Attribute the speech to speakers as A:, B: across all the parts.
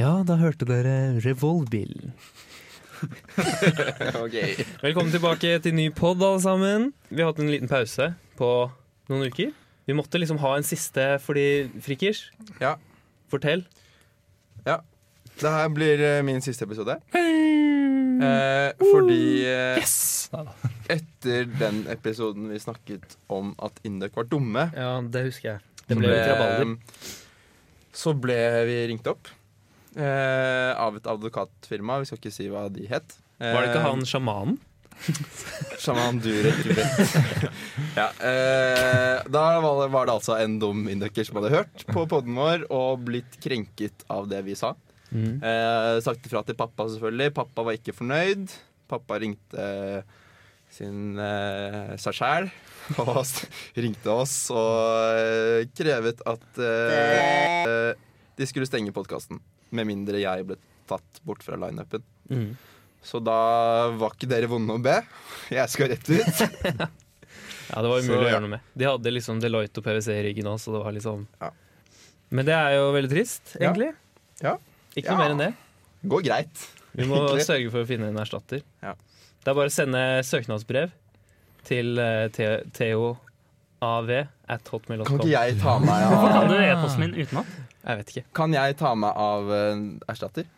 A: Ja, da hørte dere Revolbil.
B: Ok.
C: Velkommen tilbake til ny pod, alle sammen. Vi har hatt en liten pause på noen uker. Vi måtte liksom ha en siste fordi Frikkers,
B: Ja.
C: fortell.
B: Det her blir eh, min siste episode. Eh, fordi eh, etter den episoden vi snakket om at Indøk var dumme,
C: Ja, det husker jeg. Det ble litt rabalder.
B: eh, så ble vi ringt opp eh, av et advokatfirma. Vi skal ikke si hva de het. Eh,
C: Var det ikke han sjamanen?
B: Shaman Durek. Durek. ja, eh, da var det, var det altså en dum indøker som hadde hørt på poden vår og blitt krenket av det vi sa.
C: Mm.
B: Eh, sagt ifra til pappa, selvfølgelig. Pappa var ikke fornøyd. Pappa ringte sin eh, seg sjæl og s- ringte oss og eh, krevet at eh, eh, de skulle stenge podkasten. Med mindre jeg ble tatt bort fra lineupen.
C: Mm.
B: Så da var ikke dere vonde å be. Jeg skal rett ut.
C: Ja, det var umulig
B: Så,
C: å
B: ja.
C: gjøre noe med. De hadde liksom Deloitte og PwC i ryggen også, så det var liksom
B: Ja.
C: Men det er jo veldig trist,
B: Ja.
C: egentlig.
B: Ja.
C: Ikke
B: Ja.
C: noe mer enn det.
B: Går greit.
C: Vi må
B: Egentlig.
C: sørge for å finne en erstatter.
B: Ja.
C: Det er bare å sende søknadsbrev til eh, T- TOAV at
B: Kan
C: hotmail.com.
B: ikke jeg ta meg
D: Kan
B: av,
D: du e-posten min utenat?
C: Jeg vet ikke.
B: kan jeg ta meg av en erstatter?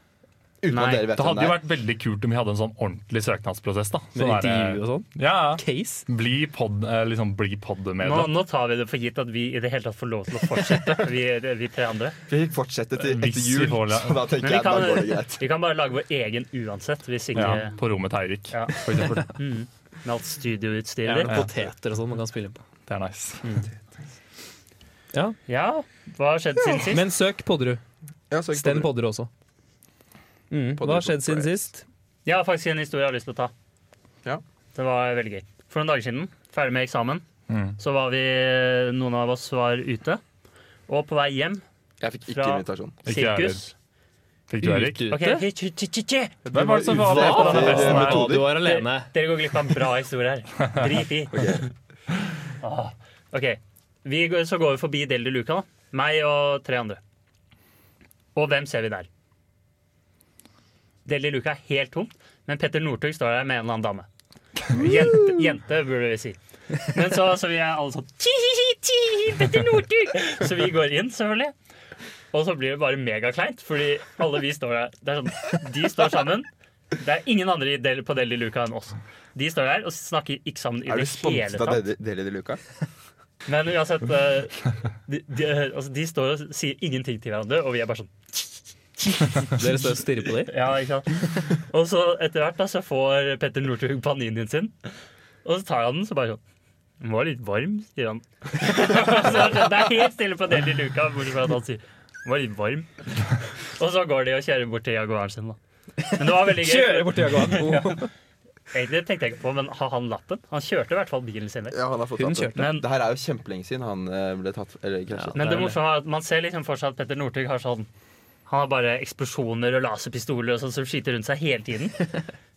B: Uten
D: Nei,
B: at dere vet
E: Det
B: hvem
E: hadde
B: det
E: jo
B: er.
E: vært veldig kult om vi hadde en sånn ordentlig søknadsprosess. da
C: Med
E: Sånn der,
C: intervju og sånn.
E: ja, ja.
C: Case.
E: Bli pod, eh, liksom, bli poddemedlem.
D: Nå, nå tar vi det for gitt at vi i det hele tatt får lov til å fortsette, vi, vi tre andre.
B: Vi fikk fortsette
D: Eh,
B: til
E: Hvis
B: etter
E: vi
B: jul,
E: får det.
B: så da
D: Men
B: tenker
D: vi
B: jeg da går det
D: kan,
B: greit.
D: vi kan bare lage vår egen uansett, hvis ikke
E: ja, på rommet til Eirik,
D: Ja.
E: for eksempel.
D: mm, Med alt studioutstyret
C: Gjerne
D: ditt.
C: poteter og sånn man kan spille på.
E: Det er nice.
C: Ja.
D: Ja, hva har skjedd siden sist?
C: Men søk Podderud.
B: Ja, så ikke
C: Stem
B: på det.
C: Podderud også. Mm.
B: Podderud
C: Hva har skjedd siden
B: Podderud.
C: sist?
D: Jeg har faktisk en historie jeg har lyst til å ta.
B: Ja.
D: Det var veldig gøy. For noen dager siden, ferdig med eksamen,
E: Mm.
D: så var vi Noen av oss var ute. Og på vei hjem,
B: Jeg fikk ikke
D: Fra-
B: invitasjon.
E: Ikke jeg
D: sirkus
E: Fikk du, Eirik?
C: Ute, ute?
D: Ok, tj- tj- tj- tj.
E: Hvem var det som var med på denne
C: Eh,
B: Hva?
E: festen? her?
C: Å, du var alene.
D: Dere går glipp av en bra historie her. Drit i.
B: Ok.
D: Ah, ok, vi, går- Så går vi forbi Del de Luca, da. Meg og tre andre. Og hvem ser vi der? Del de Luca er helt tomt, men Petter Northug står der med en eller annen dame. Jente, jente burde vi si. Men så, så vi er alle sånn ti, ti, ti, ti, Petter Northug! Så vi går inn, selvfølgelig. Og så blir det bare megakleint, fordi alle vi står der. Det er sånn, de står sammen. Det er ingen andre i Del, på Del de Luca enn oss. De står der og snakker ikke sammen i
B: Er du
D: det hele
B: sponset
D: tatt.
B: av Deli- Deli de Luca?
D: Men uansett, eh, de, de, altså, de står og sier ingenting til hverandre, og vi er bare sånn
C: Dere står og stirrer på dem.
D: Ja, ikke sant? Og så etter hvert da, så får Petter Northug paninien sin, og så tar han den, så bare sånn Den var litt varm, sier han. så det er helt stille på Deli Luca, bortsett fra at han sier Den var litt varm. Og så går de og kjører bort til Jaguaren sin, da. Men det var veldig gøy.
C: Kjører bort til Jaguar.
D: Egentlig tenkte jeg ikke på, men har han lappen? Han kjørte i hvert fall bilen sin vekk.
B: Ja, han har fått
C: Hun
B: tatt det.
C: kjørte.
D: Men
B: Det her er jo kjempelenge siden han eh, ble tatt Eller krasjet.
D: Men
C: Det
D: det
C: er det.
D: morsomme er at man ser liksom for seg at Petter Northug har sånn Han har bare eksplosjoner og laserpistoler og sånn som skyter rundt seg hele tiden.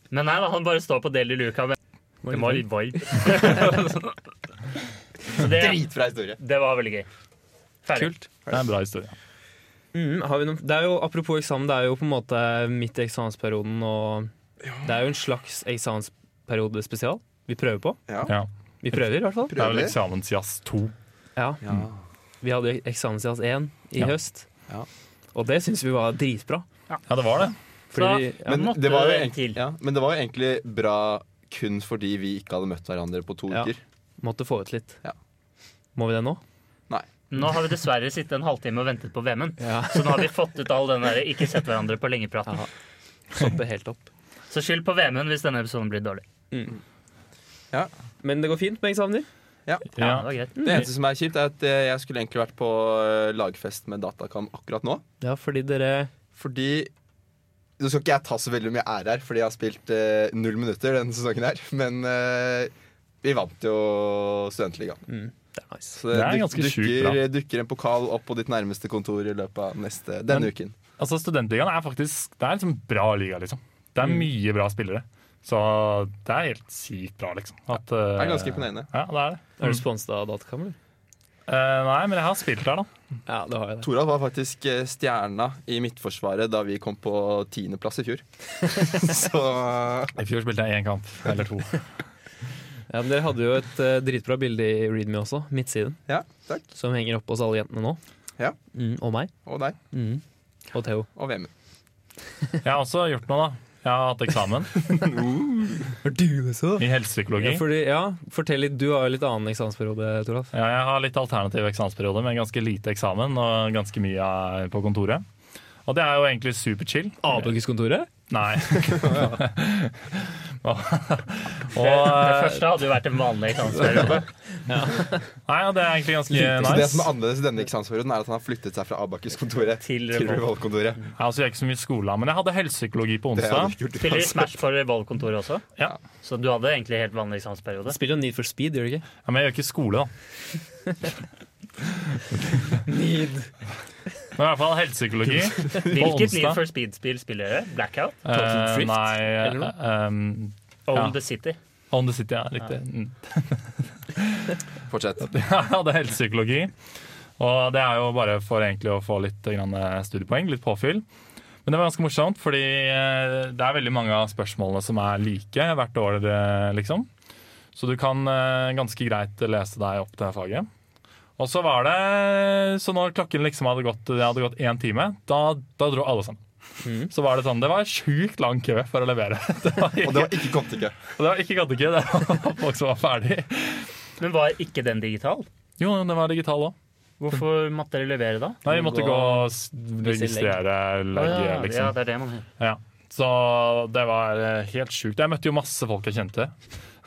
D: Men nei da, han bare står på del i luka med Det var litt varm. Så det,
B: Dritbra historie.
D: det var veldig gøy. Ferdig.
C: Kult.
E: Det er en bra historie.
C: Mm, har vi noen, det er jo, apropos eksamen, det er jo på en måte midt i eksamensperioden, og det er jo en slags eksamensperiode spesial vi prøver på.
B: Ja.
E: Ja.
C: Vi prøver i hvert fall.
E: Det er
D: sånn.
E: vel
B: Prøver.
E: eksamensjazz 2.
C: Ja,
B: Ja.
D: Mm.
C: Vi hadde jo eksamensjazz 1 i
E: Ja.
C: høst,
B: Ja.
C: og det syns vi var dritbra.
E: Ja, det var det.
D: Så-
C: Fordi vi, ja,
B: Men,
D: måtte
B: det var jo
D: en
B: egentlig,
D: til.
B: ja, men det var jo egentlig bra kun fordi vi ikke hadde møtt hverandre på to
C: Ja.
B: uker.
C: måtte få ut litt.
B: Ja.
C: Må vi det nå?
D: Nå har vi dessverre sittet en halvtime og ventet på VM-en.
C: Ja.
D: Så nå har vi fått ut all den der ikke sett hverandre på lenge-praten.
C: Ja. Stoppe helt opp.
D: Så skyld på VM-en hvis denne episoden blir dårlig.
C: Men det går fint med eksamener.
D: Ja, det
E: Ja.
D: var greit.
B: Det eneste som er kjipt, er at eh, jeg skulle egentlig vært på eh, lagfest med Datacam akkurat nå.
C: Ja, fordi dere
B: Fordi Nå skal ikke jeg ta så veldig mye ære her, fordi jeg har spilt eh, null minutter denne sesongen her. Men eh, vi vant jo Studentligaen.
C: mm, Det er nice.
B: Så det,
E: Det er
B: duk-
E: ganske sjukt
B: dukker,
E: bra.
B: dukker en pokal opp på ditt nærmeste kontor i løpet av neste, denne
E: Men-
B: uken.
E: Mm. Altså, Studentligaen er faktisk Det er liksom bra liga, liksom. Det er mye bra spillere. Så det er helt sykt bra, liksom. At,
B: Det er ganske imponerende.
E: Ja, det er det.
C: Er du sponset av datakamera?
E: Eh, nei, men jeg har spilt der, da.
C: Ja, det har jeg. det.
B: Toralf var faktisk eh, stjerna i Midtforsvaret da vi kom på tiendeplass i fjor. Så
E: I fjor spilte jeg én kamp, eller to.
C: Ja, men dere hadde jo et eh, dritbra bilde i Readme også, midtsiden,
B: ja, takk.
C: som henger oppe hos alle jentene nå.
B: Ja.
C: Mm, og meg.
B: Og deg.
C: Mm. Og Theo.
B: Og VM.
E: Jeg har også gjort noe, da. Jeg har hatt eksamen
C: Har du også?
E: i helsepsykologi.
C: Ja, fordi, ja, fortell litt. Du har jo litt annen eksamensperiode, Toralf.
E: Ja, jeg har litt alternativ eksamensperiode med ganske lite eksamen og ganske mye eh, på kontoret. Og det er jo egentlig superchill.
C: Avdukeskontoret?
E: Nei. og,
D: Det, det
E: og,
D: første hadde jo vært en vanlig eksamensperiode.
E: nei, og det er egentlig ganske
B: Så det som
E: nice.
B: er annerledes i denne eksamensperioden, er at han har flyttet seg fra Abakus-kontoret
D: Til
B: til
D: Revolt.
B: Revolt-kontoret.
E: Jeg har altså ikke så mye skole, men jeg hadde helsepsykologi på
B: Det hadde
E: onsdag.
B: ikke gjort
D: Spiller i
B: uansett.
D: Smash for Revolve-kontoret også,
E: Ja.
D: så du hadde egentlig helt vanlig eksamensperiode.
C: Spiller jo Need for Speed, gjør det ikke?
E: Ja, men jeg gjør ikke skole, da.
C: Need.
E: Men i hvert fall helsepsykologi på
D: Hvilket Need
E: onsdag.
D: for Speed-spill spiller dere? Blackout?
E: Eh,
C: Drift,
E: nei
C: eller noe?
E: eh, um,
D: Own
E: Ja.
D: the City?
E: On the City, ja. Riktig. Mm.
B: Fortsett.
E: Jeg hadde helsepsykologi. Og det er jo bare for egentlig å få litt eh, grann studiepoeng, litt påfyll. Men det var ganske morsomt, fordi eh, det er veldig mange av spørsmålene som er like hvert år, eh, liksom. Så du kan eh, ganske greit lese deg opp til faget. Og så var det Så når klokken liksom hadde gått Det hadde gått én time, da, da dro alle sammen.
C: Mhm.
E: Så var det sånn Det var sjukt lang kø for å levere. Det var
B: Mm. Og
E: ikke,
B: det var ikke kontekø.
E: og det var ikke gattekø, det var folk som var ferdig.
D: Men var ikke den digital?
E: Jo, det var digital òg.
D: Hvorfor måtte dere levere da?
E: Nei, vi måtte gå og s-
C: legg.
E: registrere
D: Å ja,
E: legget,
D: ja,
E: liksom.
D: det er det man gjør.
E: Ja. Så det var eh, helt sjukt. Jeg møtte jo masse folk jeg kjente.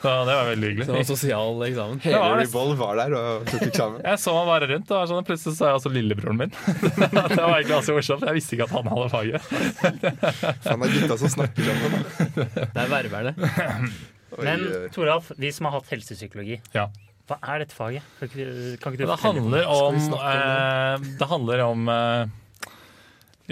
E: Så det var veldig
C: Det var
E: hyggelig.
C: sosial eksamen.
B: Hele
E: var nesten-
B: Revolve var der og tok eksamen.
E: Jeg så meg bare rundt, og var sånn, plutselig så jeg også lillebroren min. det var egentlig ganske morsomt. Jeg visste ikke at han hadde faget.
B: Faen, det er gutta som snakker sammen. da.
C: Det er ververne.
B: Oi,
D: Men
B: oi, oi.
D: Toralf, vi som har hatt helsepsykologi,
E: Ja.
D: hva er dette faget? Kan ikke, du- kan ikke du
E: Det
D: fortelle?
E: handler om eh, Det handler om eh,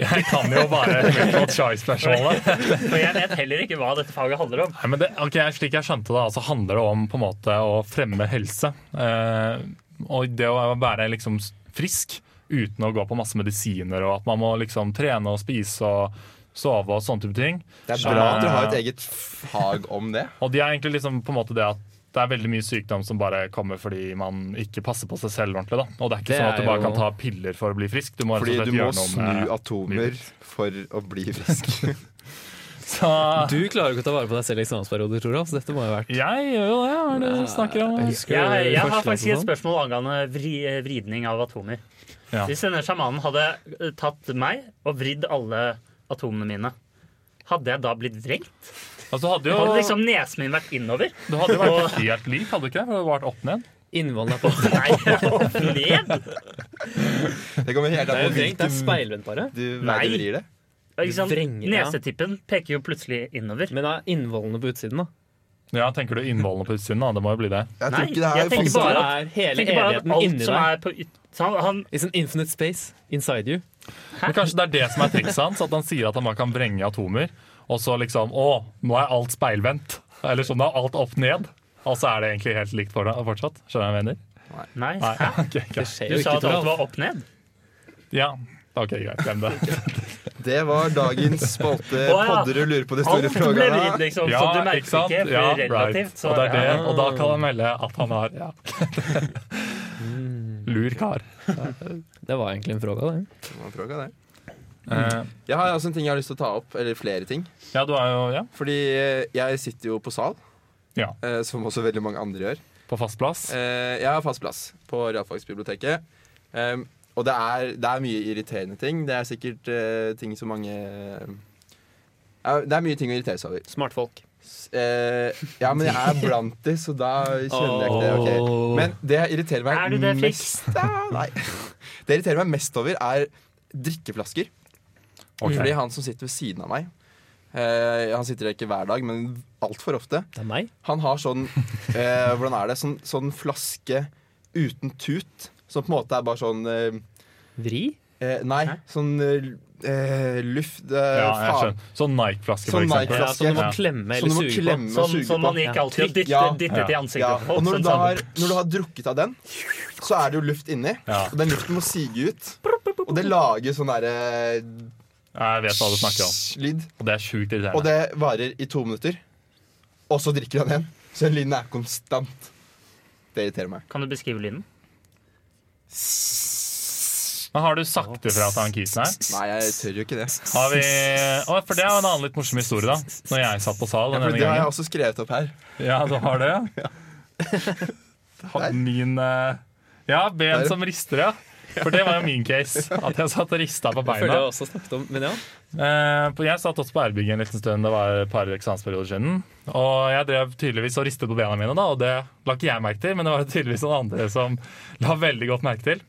E: Jeg kan jo bare multiple choice-spørsmålet.
D: For jeg vet heller ikke hva dette faget handler om.
E: Nei, men det, ok, Slik jeg skjønte det, så handler det om på en måte å fremme helse. Eh, og det å være liksom frisk uten å gå på masse medisiner, og at man må liksom trene og spise og sove og sånne type ting.
B: Det er bra at dere har et eget fag om det.
E: Og de er egentlig liksom på en måte det at det er veldig mye sykdom som bare kommer fordi man ikke passer på seg selv ordentlig. da. Og det er ikke
C: Det
E: sånn at
C: er
E: du bare
C: jo-
E: kan ta piller for å bli frisk. Du må rett og
B: Fordi
E: slett
B: du må
E: gjøre noe med-
B: snu atomer for å bli frisk.
E: Så
C: Du klarer jo ikke å ta vare på deg selv i eksamensperioder, Toralf. så Dette må jo ha vært
E: jeg gjør jo det, hva er det du snakker om?
C: husker sånn. du
D: Jeg, jeg har
C: første
D: faktisk et
C: eksamen?
D: spørsmål angående vri, eh, vridning av atomer.
E: Ja.
D: Hvis denne sjamanen hadde eh, tatt meg og vridd alle atomene mine, hadde jeg da blitt vrengt?
E: Altså, du hadde
D: Hadde
E: jo,
D: liksom nesen min vært innover?
E: du hadde jo vært helt lik, hadde du ikke det? For du hadde vært opp ned.
C: Innvandret på
D: Nei, opp ned?
B: Det kommer helt
C: Det er jo vrengt, det
B: an på
C: er
B: hvilken
C: speilvendt bare.
B: du, vei
D: Nei.
B: du vrir det.
D: Ikke sant?
C: Vrenger, ja.
D: Nesetippen peker jo plutselig innover.
C: Men det er innvollene på utsiden, da.
E: Ja, tenker du innvollene på utsiden, da? Det må jo bli det.
B: Jeg
D: Nei,
B: tror ikke det
D: jeg
B: her
D: tenker
B: passer.
D: bare-
C: Det er hele
D: Tenk bare at
C: evigheten
D: alt
C: inni
D: som
C: deg.
D: er på yt... så Han, han,
C: It's an infinite space inside you.
E: Men kanskje det er det som er trikset hans, at han sier at han bare kan vrenge atomer, og så liksom Å, nå er alt speilvendt. Eller sånn, nå er alt opp ned. Og så er det egentlig helt likt for deg fortsatt. Skjønner jeg hva jeg mener?
D: nei,
E: Nei,
D: hæ?
E: ok,
C: Det
E: greit.
C: skjer
D: Du
C: jo
D: sa
C: ikke,
D: at alt
C: Toralf.
D: var opp ned?
E: Ja, ok, greit. Glem det.
B: Det var dagens spalte
D: Å, ja.
B: Podderud lurer på de
D: Alt
B: store
D: ble vridd,
B: frågene.
D: liksom,
E: Ja,
D: så du merker
E: ikke sant?
D: ikke.
E: Ja,
D: for relativt. Så,
E: Og, det er det,
D: ja.
E: og da kan han melde at han har ja.
D: Mm.
E: Lur kar.
C: Det var egentlig en fråga, det.
B: Det var en fråga, det.
E: Eh,
B: Jeg har også en ting jeg har lyst til å ta opp, eller flere ting.
E: ja, du er jo ja,
B: Fordi eh, jeg sitter jo på sal,
E: ja,
B: eh, som også veldig mange andre gjør.
E: på fast plass.
B: Eh, Jeg har fast plass på realfagsbiblioteket. Um, Og det er, det er mye irriterende ting. Det er sikkert eh, ting som mange Ja, Det er mye ting å irritere seg over.
C: Smartfolk.
B: S- eh, ja, men jeg er blant de, så da kjenner jeg ikke det. ok. Men det jeg irriterer meg
D: Er du det, Fix?
B: mest ja, Nei. Det jeg irriterer meg mest over, er drikkeflasker.
E: Ok.
B: Fordi han som sitter ved siden av meg eh, Han sitter der ikke hver dag, men altfor ofte.
C: Det er meg.
B: Han har sånn eh, Hvordan er det? Sånn, sånn flaske uten tut. Som på en måte er bare sånn eh,
C: Vri.
B: Eh, nei, sånn eh, luft eh,
E: Ja, jeg
B: faen.
E: skjønner. Sånn Nike-flaske, for
B: Sånn
E: eksempel.
C: Ja, sånn du må
E: Ja.
C: klemme
B: Sånn du
C: eller
B: må
C: suge
B: klemme og
D: Sånn
B: suge
D: som
B: på.
D: man gikk alltid og dyttet,
B: Ja.
D: dyttet i
B: Ja,
D: ansiktet på
B: og
D: folk.
B: når du,
D: Sånn
B: da
D: sa
B: har, når du har drukket av den, så er det jo luft inni.
E: Ja.
B: Og den luften må sige ut. Og det lager sånn derre
E: Jeg vet hva du snakker om.
B: lyd.
E: Og det er sjukt
B: Og
E: irriterende.
B: det varer i to minutter. Og så drikker han igjen. Så den lyden er konstant. Det irriterer meg.
D: Kan du beskrive lyden?
E: Men har du sagt ifra til han kisen her?
B: Nei, jeg tør jo ikke det.
E: Har vi... Å, for det er jo en annen litt morsom historie, da. Når jeg satt på sal
B: Ja,
E: den
B: for
E: ene
B: det har jeg
E: gangen.
B: også skrevet opp her.
E: Ja, du har det, ja?
B: Der.
E: Hadde Min eh, Ja, ben
B: Der.
E: som rister, ja. For det var jo min case. At jeg satt og rista på
C: Jeg føler
E: beina.
C: jeg også snakket om Men ja.
E: Eh, på- jeg satt også på ærbygget en liten stund, det var et par eksamensperioder siden. Og jeg drev tydeligvis og ristet på bena mine, da, og det la ikke jeg merke til. Men det var tydeligvis noen andre som la veldig godt merke til.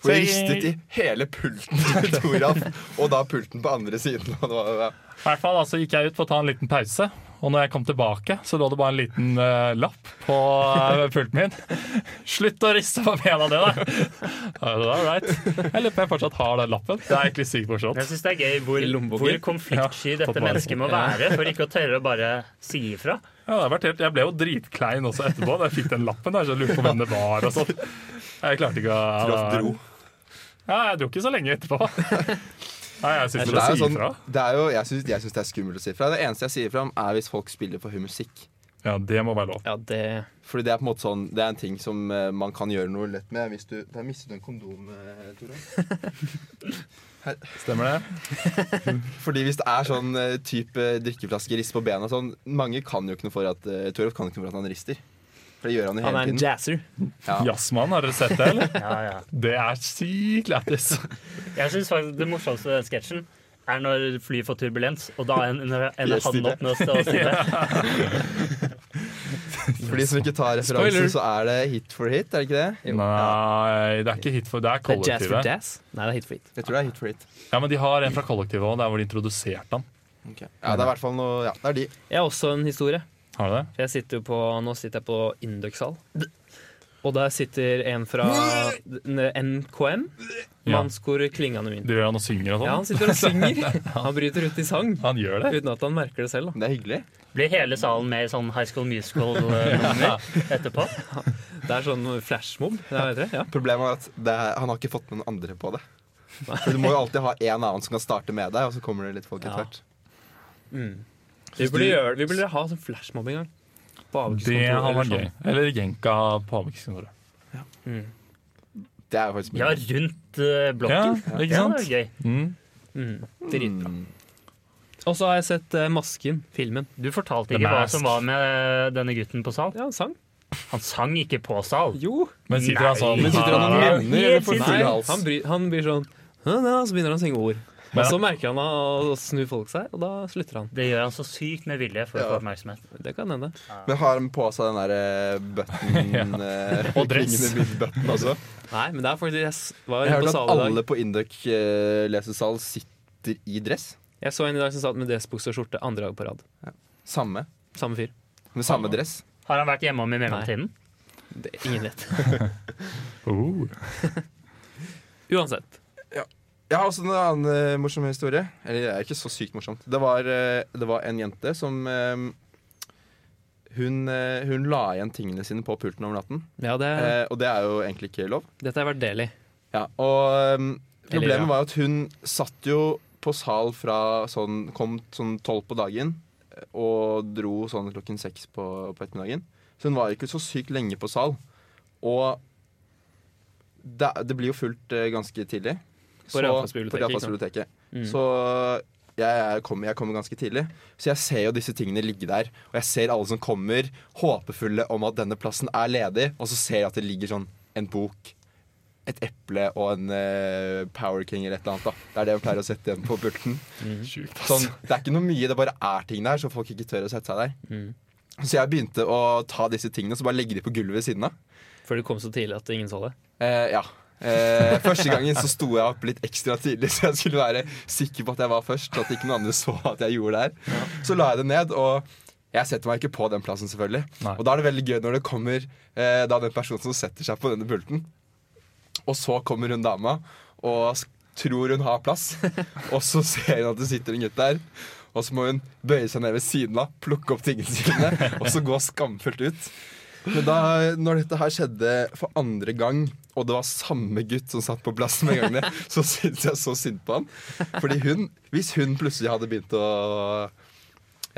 B: For jeg
E: Så
B: ristet i hele pulten til Toralf, og da pulten på andre siden. Og det var,
E: I hvert fall altså, gikk jeg ut for å ta en liten pause, og når jeg kom tilbake, så lå det bare en liten eh, lapp på eh, pulten min. Slutt å riste på bena dine! Ja, det var All right. Jeg lurer på om jeg fortsatt har den lappen. Det er egentlig sykt morsomt.
D: Jeg syns det er gøy hvor,
C: I lommeboken.
D: hvor konfliktsky
E: Ja, tatt
D: dette
E: vare på.
D: mennesket må være for ikke å tørre å bare si ifra.
E: Ja, det har vært helt, jeg ble jo dritklein også etterpå da jeg fikk den lappen. Der, så jeg lurte på hvem det var og sånn. Jeg klarte ikke å
B: Toralf dro.
E: Ja, jeg dro ikke så lenge etterpå. Nei, jeg syns
B: Men det
E: vel å
B: er jo
E: si
B: sånn,
E: ifra.
B: det er jo, jeg syns jeg synes det er skummelt å si ifra. Det eneste jeg sier ifra om, er hvis folk spiller for høy musikk.
E: Ja, det må være lov.
C: ja, det
B: Fordi det er på en måte sånn Det er en ting som eh, man kan gjøre noe lett med. Hvis du Der mistet du en kondom, eh, Toralf.
E: Stemmer det?
B: Fordi hvis det er sånn eh, type drikkeflaske, rist på bena og sånn Mange kan jo ikke noe for at eh, Toralf kan ikke noe for at han rister. For det gjør han jo
C: Han
B: hele
C: er en
B: tiden.
C: jazzer.
B: Ja.
E: Jazzmann, har dere sett det, eller?
D: Ja, ja.
E: Det er sykt lættis.
D: Jeg synes faktisk Det morsomste i den sketsjen er når flyet får turbulens, og da ender ender
B: Yes,
D: han
B: det.
D: opp med å stå stille.
B: For de som ikke tar referansen,
C: Spoiler.
B: så er det hit for hit, er det ikke det?
E: Nei, det er ikke hit for Det er
C: Det er jazz for
E: kollektivet.
C: jazz? Nei, det er hit for hit.
B: Jeg tror det er hit for hit.
E: Ja, men de har en fra kollektivet òg, der hvor de introduserte han.
B: Ja, det er i hvert fall noe Ja, det er de.
C: Jeg har også en historie.
E: Har du det?
C: For jeg sitter jo på, nå sitter jeg på Induxal. Og der sitter en fra NKM.
E: Ja.
C: Mannskor Klingane min.
E: Driver han og synger og
C: Ja, han
E: sånn?
C: sitter og synger. Han bryter ut i sang.
E: Han gjør det.
C: Uten at han merker det selv.
B: Det er hyggelig.
D: Blir hele salen med i sånn High School Musical-nummer etterpå?
C: da Det er sånn flashmob. Det er, ja.
B: Problemet er at det er, han har ikke fått med noen andre på det. For Du må jo alltid ha en annen som kan starte med deg, og så kommer det litt folk
C: Ja.
B: etter hvert.
C: Mm. vi, burde gjøre, vi burde ha sånn flashmob en gang. På
E: Det
C: avvikskontoret
E: har
C: eller
E: vært gøy.
C: sånn.
E: Eller jenka på avvikskontoret.
C: Mm.
B: Det er jo faktisk
D: Ja, rundt eh, blokken.
E: Ja, ikke
D: Ja,
E: sant?
D: det er gøy.
E: Mm.
C: Mm. Dritbra. Og så har jeg sett eh, Masken, filmen.
D: Du fortalte
E: The
D: ikke hva
E: Mask.
D: som var med denne gutten på sal.
C: Ja, han sang.
D: Han sang ikke på sal.
C: Jo.
E: Men sitter han sånn
B: Men sitter han og
E: Nei.
B: nevner eller får
D: Helt
B: full
C: Nei,
B: hals?
C: han blir, han blir sånn «Hæ, da», Og så begynner han å synge ord.
E: Men-
C: Og så merker han å snur folk seg, og da slutter han.
D: Det gjør han så sykt med vilje for å
B: Ja.
D: få oppmerksomhet.
C: Det kan hende.
B: Men har han på seg den der eh, button eh,
E: Og dress.
B: klingende button også?
C: Nei, men det er faktisk Jeg s- var
B: Jeg
C: inne på
B: hørte at
C: salen i
B: alle
C: dag.
B: på Indøk eh, lesesal sitter i dress.
C: Jeg så en i dag som satt med dressbukse og skjorte andre dag på rad.
B: Samme.
C: Samme fyr.
B: Med samme dress.
D: Har han vært hjemom i mellomtiden?
C: Det, ingen vet.
E: Oh.
C: Uansett.
B: Jeg har også en annen eh, morsom historie. Eller det er ikke så sykt morsomt. Det var, eh, det var en jente som eh, hun, eh, hun la igjen tingene sine på pulten om natten.
C: Ja, det,
B: Eh, og det er jo egentlig ikke lov.
C: dette har vært delig.
B: Ja, og ehm,
C: Eller,
B: problemet
C: ja.
B: var jo at hun satt jo på sal fra sånn Kom sånn tolv på dagen eh, og dro sånn klokken seks på, på ettermiddagen. Så hun var ikke så sykt lenge på sal. Og det, det blir jo fullt eh, ganske tidlig.
C: På
B: Så-
C: Raufoss-biblioteket,
B: på Raufoss-biblioteket.
C: Mm.
B: Så jeg, jeg, kommer, jeg kommer ganske tidlig. Så jeg ser jo disse tingene ligge der. Og jeg ser alle som kommer, håpefulle om at denne plassen er ledig. Og så ser jeg at det ligger sånn en bok, et eple og en eh, Power King eller et eller annet. da Det er det jeg pleier å sette igjen på pulten.
C: Mm.
E: Sjukt.
B: Sånn, det er ikke noe mye, det bare er ting der, så folk ikke tør å sette seg der.
C: Mm.
B: Så jeg begynte å ta disse tingene og så bare legge de på gulvet ved siden av.
C: Før du kom så tidlig at ingen så det.
B: Eh, ja. Eh, første gangen så sto jeg opp litt ekstra tidlig, så jeg skulle være sikker på at jeg var først. At ikke noen andre så at jeg gjorde det her. Så la jeg det ned, og jeg setter meg ikke på den plassen, selvfølgelig.
E: Nei.
B: Og da er det veldig gøy når det kommer eh, da den personen som setter seg på denne pulten, og så kommer hun dama og s- tror hun har plass, og så ser hun at det sitter en gutt der. Og så må hun bøye seg ned ved siden av, plukke opp tingene sine og så gå skamfullt ut. Men da når dette her skjedde for andre gang, og det var samme gutt som satt på plass med gangene, så syntes jeg så synd på han. Fordi hun, hvis hun plutselig hadde begynt å,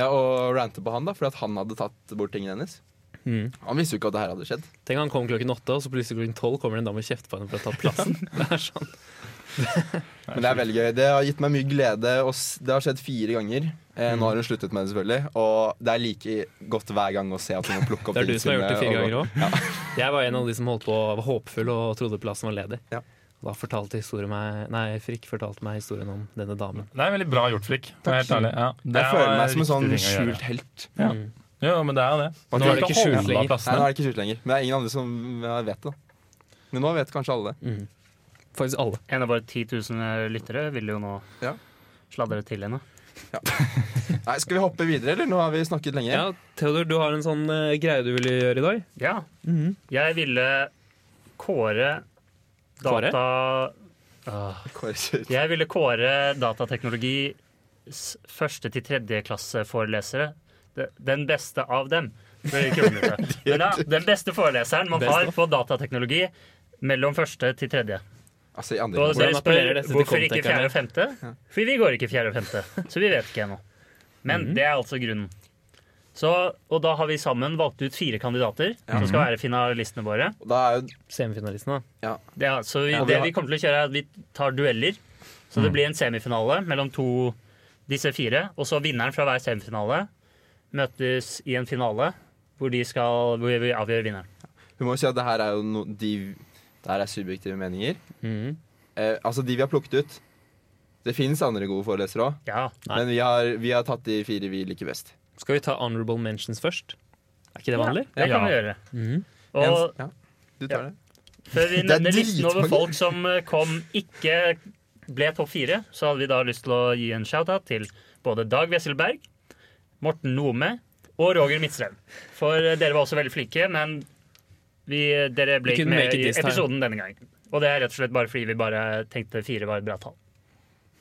B: ja, å rante på han da, fordi at han hadde tatt bort tingene hennes
C: Mm.
B: Han visste jo ikke at det her hadde skjedd.
C: Tenk han kom klokken åtte, og så plutselig klokken tolv kommer det en dame og kjefter på henne for å ta plassen. Det er sånn.
B: Men det er veldig gøy. Det har gitt meg mye glede. Og s- det har skjedd fire ganger.
C: Mm.
B: Eh, nå har hun sluttet med det, selvfølgelig. Og det er like godt hver gang å se at hun må plukke opp
C: Det er du som har gjort det fire ganger
B: og-
C: òg. Jeg var en av de som holdt på var håpfull og trodde plassen var ledig.
B: Ja.
C: Da fortalte historien meg, nei, Frikk fortalte meg historien om denne damen.
E: Det er veldig bra gjort, Frikk. Helt ærlig. Ja, det
B: Jeg føler meg som en
E: var
B: sånn
E: riktig ting å gjøre.
B: skjult helt.
E: Ja.
C: Mm.
E: Jo, men det er jo det.
B: Man
E: Nå
B: tror
E: er det
C: ikke
E: ikke
C: skjult
E: skjult
C: lenger.
B: Nei, nå
E: plassene.
B: er det ikke skjult lenger. Men det er ingen andre som ja, vet det. da Men nå vet kanskje alle det.
C: Mm. Faktisk alle.
D: En av våre 10 000 lyttere vil jo nå
B: Ja.
D: sladre til henne.
B: Nei, Skal vi hoppe videre, eller? Nå har vi snakket lenge.
C: Ja, Theodor, du har en sånn eh, greie du ville gjøre i dag.
D: Ja, jeg ville kåre
C: Kåre?
D: data... Ah.
B: Kåre Kjøs.
D: Jeg ville kåre datateknologis første til tredje klasse forelesere. De- Den beste av dem. Det er ikke umulig. Men ja, den beste foreleseren man
C: Best
D: har på datateknologi mellom første til tredje.
B: Altså, i andre
D: Og
B: klasse.
D: dere
C: Hvordan appellerer
D: spør
C: dette til
D: hvorfor ikke
C: kontekerne?
D: fjerde og femte? Fordi vi går ikke fjerde og femte, så vi vet ikke ennå. Men det er altså grunnen. Så, og da har vi sammen valgt ut fire kandidater som skal være finalistene våre.
B: Og Da er jo
C: Semifinalisten, da.
D: Det, er altså- vi,
B: Ja, vi
D: det
B: har-
D: vi kommer til å kjøre, er at vi tar dueller. Så det blir en semifinale mellom to disse fire. Og så vinneren fra hver semifinale møtes i en finale hvor, de skal, hvor vi avgjør vinneren.
B: Vi må jo si at det her er jo no, de Det her er subjektive meninger.
C: Mhm.
B: Eh, altså, de vi har plukket ut Det fins andre gode forelesere òg,
D: Ja.
C: Nei.
B: men vi har, vi har tatt de fire vi liker best.
C: Skal vi ta honorable mentions først? Er ikke det vanlig?
D: Det kan
E: Ja.
D: vi gjøre.
C: Mhm.
D: Og
B: ja, du tar
D: Ja.
B: det.
D: før vi
B: Det er
D: nevner listen over
B: dritmange.
D: folk som eh, kom ikke ble topp fire, så hadde vi da lyst til å gi en shout-out til både Dag Wesselberg, Morten Nome og Roger Midtstrøm. For eh, dere var også veldig flinke, men vi, dere ble
C: We
D: ikke
C: couldn't
D: med
C: make it
D: i
C: this time.
D: episoden denne gangen. Og det er rett og slett bare fordi vi bare tenkte fire var et bra tall.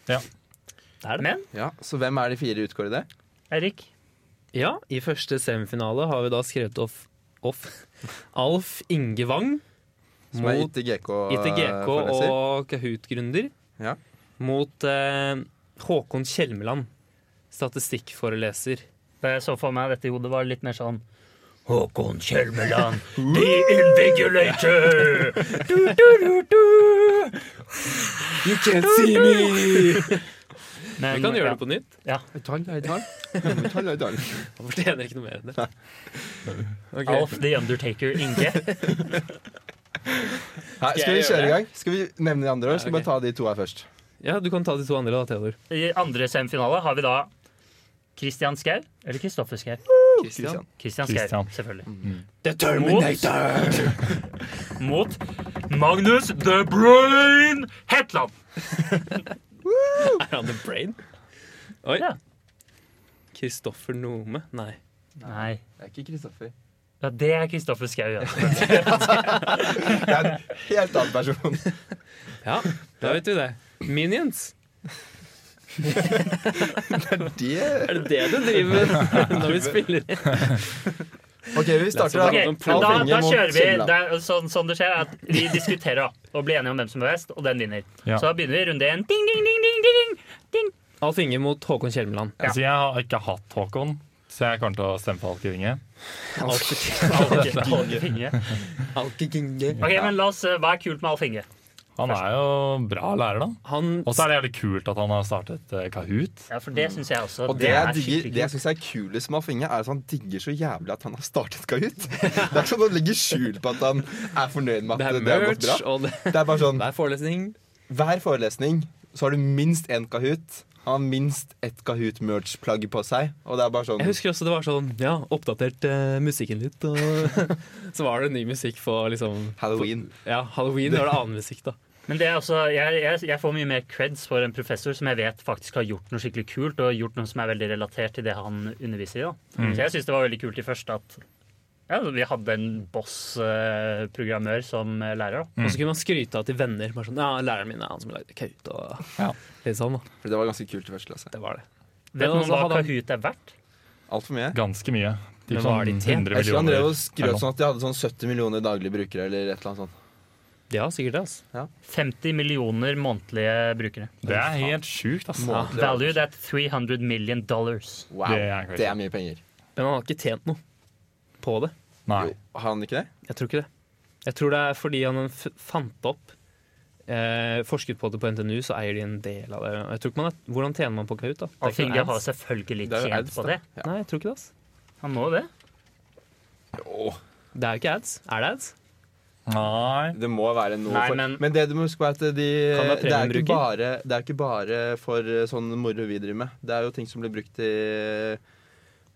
E: Ja.
C: er det.
D: Men
B: Ja, så hvem er de fire utkårede?
D: Eirik,
C: Ja, i første semifinale har vi da skrevet off, off Alf Inge Wang
B: Som er
C: mot
B: eh,
C: ITGK
B: ITGK-foreleser.
C: og Kahoot-gründer
B: Ja.
C: mot eh, Håkon Kjelmeland, statistikkforeleser.
D: da jeg så for meg dette i hodet, var det litt mer sånn Håkon Kjelmeland, the invigilator!
B: You can't see me!
D: Men,
C: Vi kan
D: ja.
C: gjøre det på nytt.
B: Høytall, høytall. Høytall, høytall.
C: Han fortjener ikke noe mer enn det. Ok.
D: Alf the Undertaker Inge.
B: Nei, skal vi
C: jeg
B: kjøre
C: gjøre
B: i gang? Skal vi nevne de andre, eller skal vi
C: Ja,
B: bare ta de to her først?
C: Ja, Du kan ta de to andre, da, Theodor.
D: I andre semifinale har vi da Christian Skau, eller Kristoffer Skau?
B: Kristian.
D: Christian Skau,
E: Christian.
D: selvfølgelig.
B: Mm. The
D: Mot Magnus The Brain Hetland.
C: Er han the brain? Oi.
D: Ja.
C: Kristoffer Nome? Nei.
D: Nei,
B: Det er ikke Kristoffer.
D: ja, det er Kristoffer Skau.
B: Det er
D: Ja.
B: en helt annen person.
C: Ja, da vet vi det. Minions.
B: Det
C: Er det det du driver med når vi spiller?
B: OK, vi starter
C: La
B: da.
C: oss Ja, men
D: Ok, men da,
C: prøv å
B: Alf
D: da
B: Inge mot
D: kjører vi
B: Kjelland.
D: det er sånn, sånn det skjer, er at vi diskuterer da, og blir enige om hvem som er best, og den vinner.
E: Ja.
D: Så da begynner vi runde én. Ding, ding, ding, ding, ding, ding.
C: Alf Inge mot Håkon Kjelmeland.
D: Ja.
E: Så jeg har ikke hatt Håkon, så jeg kommer til å stemme på Alf Inge.
D: Alf Inge.
C: Alf-
D: Ok, men la oss, eh, Hva er kult med Alf Inge?
E: Han er jo bra lærer, da.
C: Han
E: Og så er det jævlig kult at han har startet eh, Kahoot.
D: Ja, for Det syns jeg også.
B: Mm. Og det jeg, digger, det
D: skikkelig
B: jeg
D: kult.
B: syns er kulest med Alfinge, er at han digger så jævlig at han har startet Kahoot. Det er sånn Han legger skjul på at han er fornøyd med
C: Det
B: at
C: er
B: det, har gått
C: merch,
B: bra.
C: og det
B: Det er bare sånn,
C: det er forelesning.
B: Hver forelesning så har du minst én Kahoot. Han har minst ett Kahoot-merch-plagg på seg. Og det er bare sånn
C: Jeg husker også det var sånn Ja, oppdatert eh, musikken litt, og så var det ny musikk for liksom
B: Halloween.
C: Ja, halloween var det annen musikk, da.
D: Men det er også, jeg, jeg, jeg får mye mer creds for en professor som jeg vet faktisk har gjort noe skikkelig kult, og gjort noe som er veldig relatert til det han underviser i. Da. Så jeg syns det var veldig kult i første at Ja, altså, vi hadde en boss-programmør som eh, lærer. da.
C: Og så kunne man skryte av til venner. Bare sånn, ja, læreren min er han som lagde Kaut og
E: Ja.
C: litt sånn. da.
B: For det var ganske kult i første klasse.
C: Det var det. Men
D: Vet noen
C: altså,
D: hva
C: hadde han-
D: Kahoot er verdt?
B: Altfor mye.
E: Ganske mye. Typ
C: Men hva er de
E: sånn
C: til?
E: 100
B: Jeg husker han drev
E: millioner.
B: og skrøt sånn at de hadde sånn 70 millioner daglige brukere eller et eller annet sånt.
C: Ja, sikkert det. altså.
D: 50 millioner månedlige brukere.
E: Det er helt sjukt, ass.
B: Må- Det er-
D: Valued at 300 million dollars.
B: Wow,
E: Det er crazy.
B: det er mye penger.
C: Men han har ikke tjent noe på det.
E: Nei.
B: Jo, har han ikke det?
C: Jeg tror ikke det. Jeg tror det er fordi han f fant opp eh, Forsket på det på NTNU, så eier de en del av det. Jeg tror ikke man er, Hvordan tjener man på Kahoot? da? Det er ikke noe
D: Alfinge har
C: Altså, ads.
D: selvfølgelig
B: er jo
D: tjent
B: ads, da.
D: på det.
B: Ja.
C: Nei, jeg tror ikke det. altså. ass.
D: Han må jo det.
B: Jo,
C: Det er jo ikke ads. Er det ads?
E: Nei.
B: det må være noe
D: Nei,
B: for
D: men-
B: det du må huske på, er at de,
C: Kan det være
B: det, er ikke
C: premiumbruker?
B: bare, det er ikke bare for eh, sånn moro vi driver med. Det er jo ting som blir brukt i,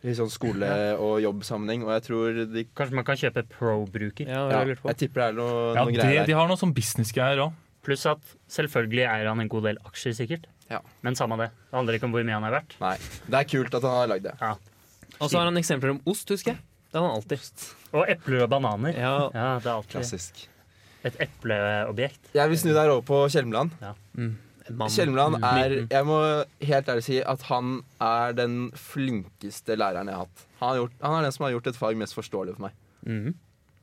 B: i sånn skole- og jobbsammenheng, og jeg tror de
D: Kanskje man kan kjøpe pro-bruker.
C: Ja, det
B: ja,
C: har jeg lurt på.
B: Jeg tipper det er noe,
E: Ja,
B: noen
E: de,
B: greier
E: de
B: der.
E: har noe sånn businessgreier òg.
D: Pluss at selvfølgelig eier han en god del aksjer, sikkert.
B: Ja.
D: Men samme det. Det handler ikke om hvor mye han er verdt.
B: Nei, det er kult at han har lagd det.
D: Ja.
C: Og så har han eksempler om ost, husker jeg. Det har han alltid.
D: Og epler og bananer.
C: Ja,
D: Ja, det er alltid
B: Klassisk.
D: et epleobjekt.
B: Jeg vil snu deg over på Kjelmeland.
C: en mann.
B: Kjelmeland er
C: Liten.
B: Jeg må helt ærlig si at han er den flinkeste læreren jeg har hatt. Han, har gjort, han er den som har gjort et fag mest forståelig for meg.
C: Mhm.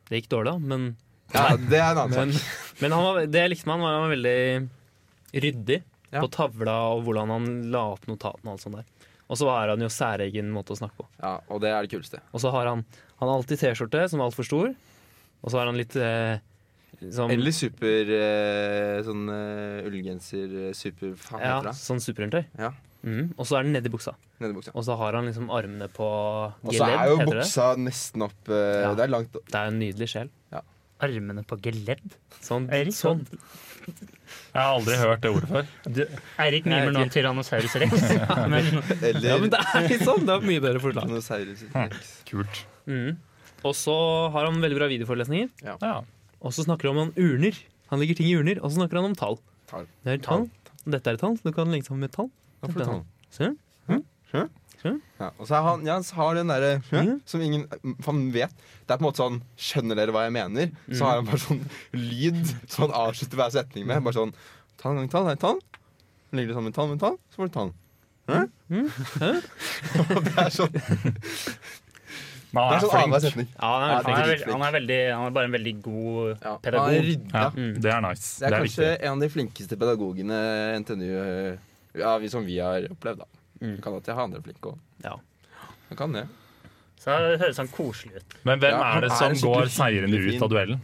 C: Det gikk dårlig, da, men
B: Ja, det er en annen sak.
C: Men, men han var, det jeg likte med han, var han var veldig ryddig
B: Ja.
C: på tavla og hvordan han la opp notatene. Og alt sånt der. Og så har han jo særegen måte å snakke på.
B: Ja, og det er det kuleste.
C: Og så har han, han har alltid T-skjorte som er altfor stor, og så har han litt eh, sånn,
B: Eller super eh, sånn eh, ullgenser eh, super faen
C: ja,
B: heter det.
C: sånn superundertøy.
B: Ja,
C: Mhm. Og så er den nedi buksa.
B: nedi buksa.
C: Og så har han liksom armene på
B: Og så er
C: geledd,
B: jo
C: heter det.
B: buksa nesten opp eh,
C: Ja.
B: Det er langt opp.
C: Det er en nydelig sjel.
D: Armene på geledd.
C: Sånn,
D: Eirik, sånn.
C: sånn.
E: Jeg har aldri hørt det ordet før.
D: Eirik mimer nå Tyrannosaurus rex. Men
B: Eller
C: Ja, men det er litt sånn! Det er mye bedre forslag.
B: Tyrannosaurus rex.
E: Kult.
C: Mhm. Og så har han veldig bra videoforelesninger.
E: Ja.
C: Og så snakker han om urner. Han legger ting i urner, og så snakker han om tall.
B: Tall.
C: Det er tall. Dette er et tall, så du kan legge sammen med et tall.
B: Da får du ta den.
C: Se.
B: Ja, og så er han, ja, så har den derre eh,
C: Mhm.
B: som ingen han vet. Det er på en måte sånn Skjønner dere hva jeg mener? Så har han bare sånn lyd som han avslutter hver setning med. Bare sånn Tann, tann, tann, tann. Ligger det sammen med tann, med tann, så får du tann. Hæ? Og det er sånn, det
E: Men han
B: er
E: er
B: sånn annenhver
E: flink.
B: setning.
C: Ja, han er
B: Ja,
C: veldig
D: han
C: flink.
D: er, veldig, han, er veldig, han er bare en veldig god
B: Ja, han er
D: pedagog.
B: rydda.
E: Ja,
C: Mm.
E: det er nice.
B: Det er kanskje
E: viktig.
B: en av de flinkeste pedagogene NTNU eh, ja, vi- som vi har opplevd, da.
C: Mm.
B: Kan at jeg har andre flinke òg.
C: Ja.
B: Han kan det.
D: Så det høres han koselig ut.
E: Men hvem
B: Ja, han
E: er det
B: er
E: som
B: en skikkelig
E: går seirende
B: fin-
E: ut av duellen?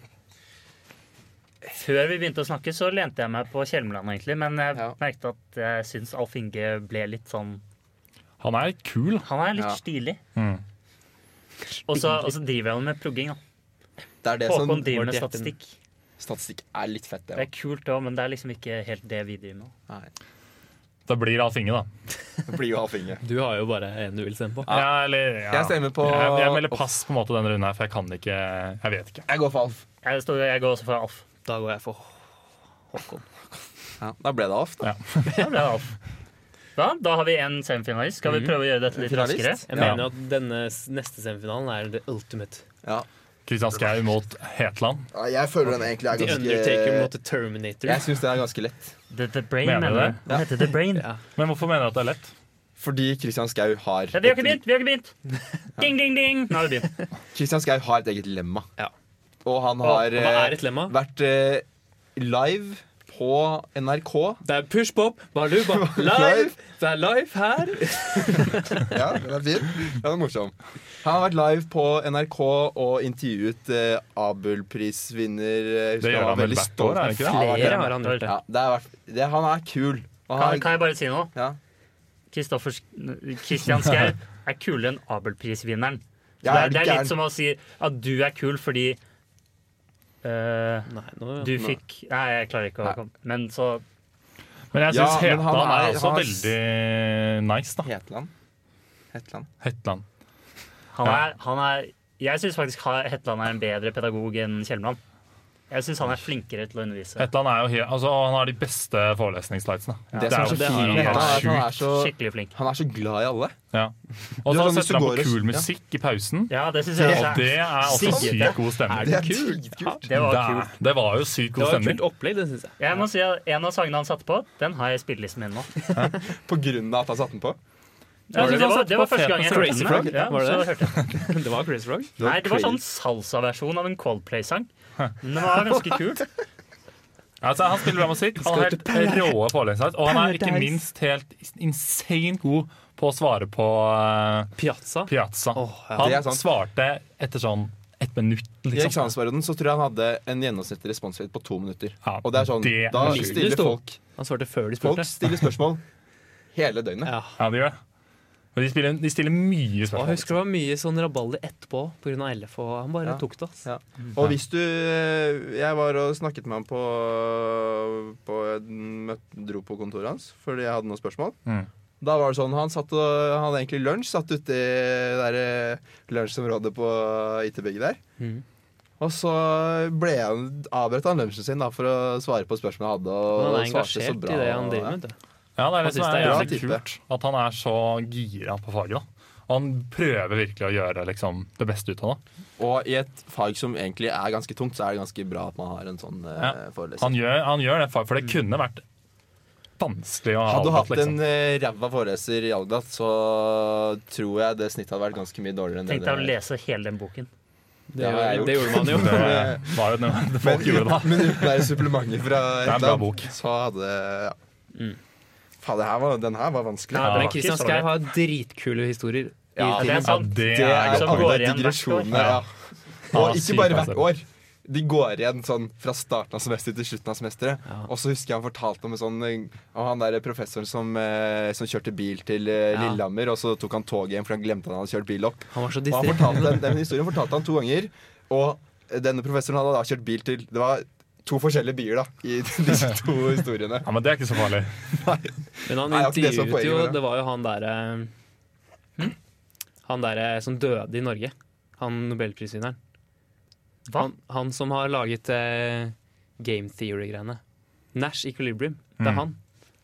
D: Før vi begynte å snakke, så lente jeg meg på Kjelmeland, egentlig. Men jeg
B: Ja.
D: merket at jeg syns Alf Inge ble litt sånn
E: Han er kul.
D: Han er litt
B: Ja.
D: stilig.
E: Mm.
D: Og så og så driver han med progging.
B: Det
D: da.
B: er sånn det som
D: Håkon driver med
C: Morten.
D: statistikk.
B: Statistikk er litt fett,
D: Det
B: det
D: er kult òg, men det er liksom ikke helt det vi driver med.
B: òg.
E: Da blir Alf Inge, da.
B: Det blir jo halvfinger.
C: Du har jo bare en du vil stemme på.
E: Ja, eller, ja.
B: Jeg stemmer på
E: jeg, jeg melder pass på en måte denne runden her, for jeg kan ikke Jeg vet ikke.
B: Jeg går for Alf.
D: Jeg, står, jeg går også for Alf.
C: Da går jeg for Håkon.
B: Ja, da ble det Alf, da.
D: Da ble det Alf. Da, da har vi en semifinalist. Skal vi prøve å gjøre dette litt
B: Mm. Finalist?
D: raskere?
C: Jeg mener
E: Ja.
C: jo at denne s- neste semifinalen er the ultimate.
B: Ja.
E: Kristian Schau mot Hetland.
B: Jeg føler den egentlig er
C: The Undertaker mot the Terminator.
B: Jeg syns den er ganske lett.
D: The, the Brain,
E: Mener
D: mener
E: du
D: du?
E: det?
D: Den heter The Brain.
C: Ja.
E: Men hvorfor mener du at det er lett?
B: Fordi Christian Skau har
D: Ja, vi har ikke begynt! Vi har ikke begynt! Ding, ding, ding! Nå har vi begynt.
B: Christian Skau har et eget lemma.
C: Ja.
B: Og han
C: Og,
B: har
C: og hva er et lemma?
B: eh, vært eh, live på NRK.
C: Det er pushpop, baluba, live! Det er live her.
B: Ja, den er fin. Den er morsom. Han har vært live på NRK og intervjuet eh, Abelprisvinner eh, jeg husker
E: Det gjør
B: var
E: han vel
B: veldig
E: hvert
B: stolt.
E: år, er det ikke det?
B: Ja,
C: Flere har han gjort det.
B: Ja, det er, vært- det, han er kul. Og
D: Kan,
B: han,
D: kan jeg bare si noe?
B: ja.
D: Kristoffer Kristian Schau er kulere enn Abelprisvinneren.
B: Ja,
D: det,
B: er
D: er,
B: du
D: det er
B: gæren?
D: litt som å si at du er kul fordi eh,
C: Nei, nå
D: du fikk Nei, jeg klarer ikke å
B: Nei.
D: komme Men så
E: Men jeg syns
B: Ja, men han
E: Hetland er,
B: er-
E: også
B: han er-
E: veldig nice, da.
B: Hetland. Hetland.
E: Hetland.
D: Han er, han er Jeg syns faktisk Ha- Hetland er en bedre pedagog enn Kjelmeland. Jeg syns han er flinkere til å undervise.
E: Hetland er jo helt, altså, han har de beste forelesningslightsene.
B: Det som er så
E: jo
B: fint,
E: helt
B: med Hetland, er at han er så,
D: Skikkelig flink.
B: han er så glad i alle.
E: Ja. Og
B: Du
E: så
B: har sånn hvis du
E: setter han
B: går
E: på
B: og-
E: kul
B: ja.
E: musikk i pausen.
D: Ja, det syns jeg
E: Og
D: også.
E: det
D: er-
E: er også
D: Sikkert.
E: sykt god stemning.
B: Det er dritkult.
D: Det var
E: Det er-
D: kult.
E: Det var jo sykt
C: Det
E: god
C: var et
E: stemning.
C: kult opplegg, det syns jeg.
D: Jeg må si at En av sangene han satte på, den har jeg i spillelisten min nå.
B: På grunn av at han satte den på.
D: Ja, altså,
E: det
D: det,
E: det?
D: var, det var
E: På
D: første gang jeg
E: Crazy
D: hørte
E: Frog?
D: den. Ja,
C: Var det
D: så
C: det?
D: hørte jeg.
C: Det var Crazy Frog.
D: Nei, det var sånn salsa-versjon av en Coldplay-sang. Men den var ganske kul.
E: Altså, han spiller bra musikk, han har helt rå forelesningsleit, og han er ikke minst helt insane god på å svare på eh,
C: Piazza.
E: Piazza.
C: Åh, ja.
B: Det
E: Han
B: er sant.
E: svarte etter sånn ett minutt,
B: I
E: liksom.
B: eksamensperioden så tror jeg han hadde en gjennomsnittlig responstid på to minutter.
E: Ja,
B: Og det er sånn,
E: det
B: Da
E: er sjukt.
C: Det
B: stiller
C: sto.
B: folk
C: Han svarte før de
B: Folk
C: spurte.
B: stiller spørsmål hele døgnet.
C: Ja.
E: Ja, de gjør det. Og de, spiller, de stiller mye
C: Og jeg
E: spørsmål.
C: husker det var mye sånn rabalder etterpå pga. LF, og han bare
B: Ja.
C: tok det. altså. ass.
B: Ja. Og hvis du eh, Jeg var og snakket med ham på, på møt- Dro på kontoret hans fordi jeg hadde noen spørsmål.
E: Mm.
B: Da var det sånn, Han, satt og, han hadde egentlig lunsj, satt ute i det der, eh, lunsjområdet på IT-bygget der.
C: Mhm.
B: Og så ble han, avbrøt han lunsjen sin da, for å svare på spørsmål han hadde. Og,
C: Han er
B: og svarte så
C: engasjert
B: bra.
C: i det han
B: og-
C: driver med. vet du.
E: Ja, det er
C: Han
E: det som
C: synes
E: er
C: det er
E: jævlig
B: bra
E: kult. At han er så gira på faget. da. Og han prøver virkelig å gjøre liksom, det beste ut av det.
B: og i et fag som egentlig er ganske tungt, så er det ganske bra at man har en sånn eh,
E: Ja.
B: foreleser.
E: Han gjør, han gjør det, for det kunne vært vanskelig å ha
B: Hadde du hatt
E: avgått, liksom.
B: en eh, ræva foreleser i Algdat, så tror jeg det snittet hadde vært ganske mye dårligere enn det
D: Tenkte jeg å
B: det.
D: lese hele den boken.
C: Det,
B: har jeg gjort.
C: det gjorde man jo.
E: Det var jo noe det folk gjorde da.
B: eh, Men uten det supplementet fra
E: er en bra
B: Hetland,
E: bok.
B: så hadde ja.
D: Mm.
B: Faen, det her var, den her var vanskelig.
E: Ja, det
C: Men
E: var
C: Christian
D: ikke så
C: Skei
D: lett.
C: har dritkule historier. i
B: Ja,
D: Det
C: tiden.
D: er sant.
E: det
B: Det
E: er
B: er
D: som
B: alle
D: går igjen hvert
B: digresjonene.
E: år.
B: Ja. Og
E: Ja,
B: ikke
E: sykt
B: bare
E: masse.
B: hvert år. De går igjen sånn fra starten av semesteret til slutten av semesteret.
C: Ja.
B: Og så husker jeg han fortalte om, en sånn, eh, om han der professoren som, eh, som kjørte bil til eh,
C: Ja.
B: Lillehammer, og så tok han toget hjem, for han glemte han hadde kjørt bil opp.
C: Han var så
B: Og han
C: distré.
B: fortalte, den, den historien fortalte han to ganger. Og denne professoren hadde da kjørt bil til Det var to forskjellige byer da i disse to historiene.
E: Ja, men det er ikke så farlig.
C: Men han
B: Nei, jeg har ikke det som
C: intervjuet
B: poeng,
C: jo
B: men-
C: Det var jo han derre Han derre som døde i Norge. Han nobelprisvinneren.
D: Hva?
C: Han, han som har laget eh, game theory-greiene. Nash Equilibrium. Det
E: Mm.
C: er han.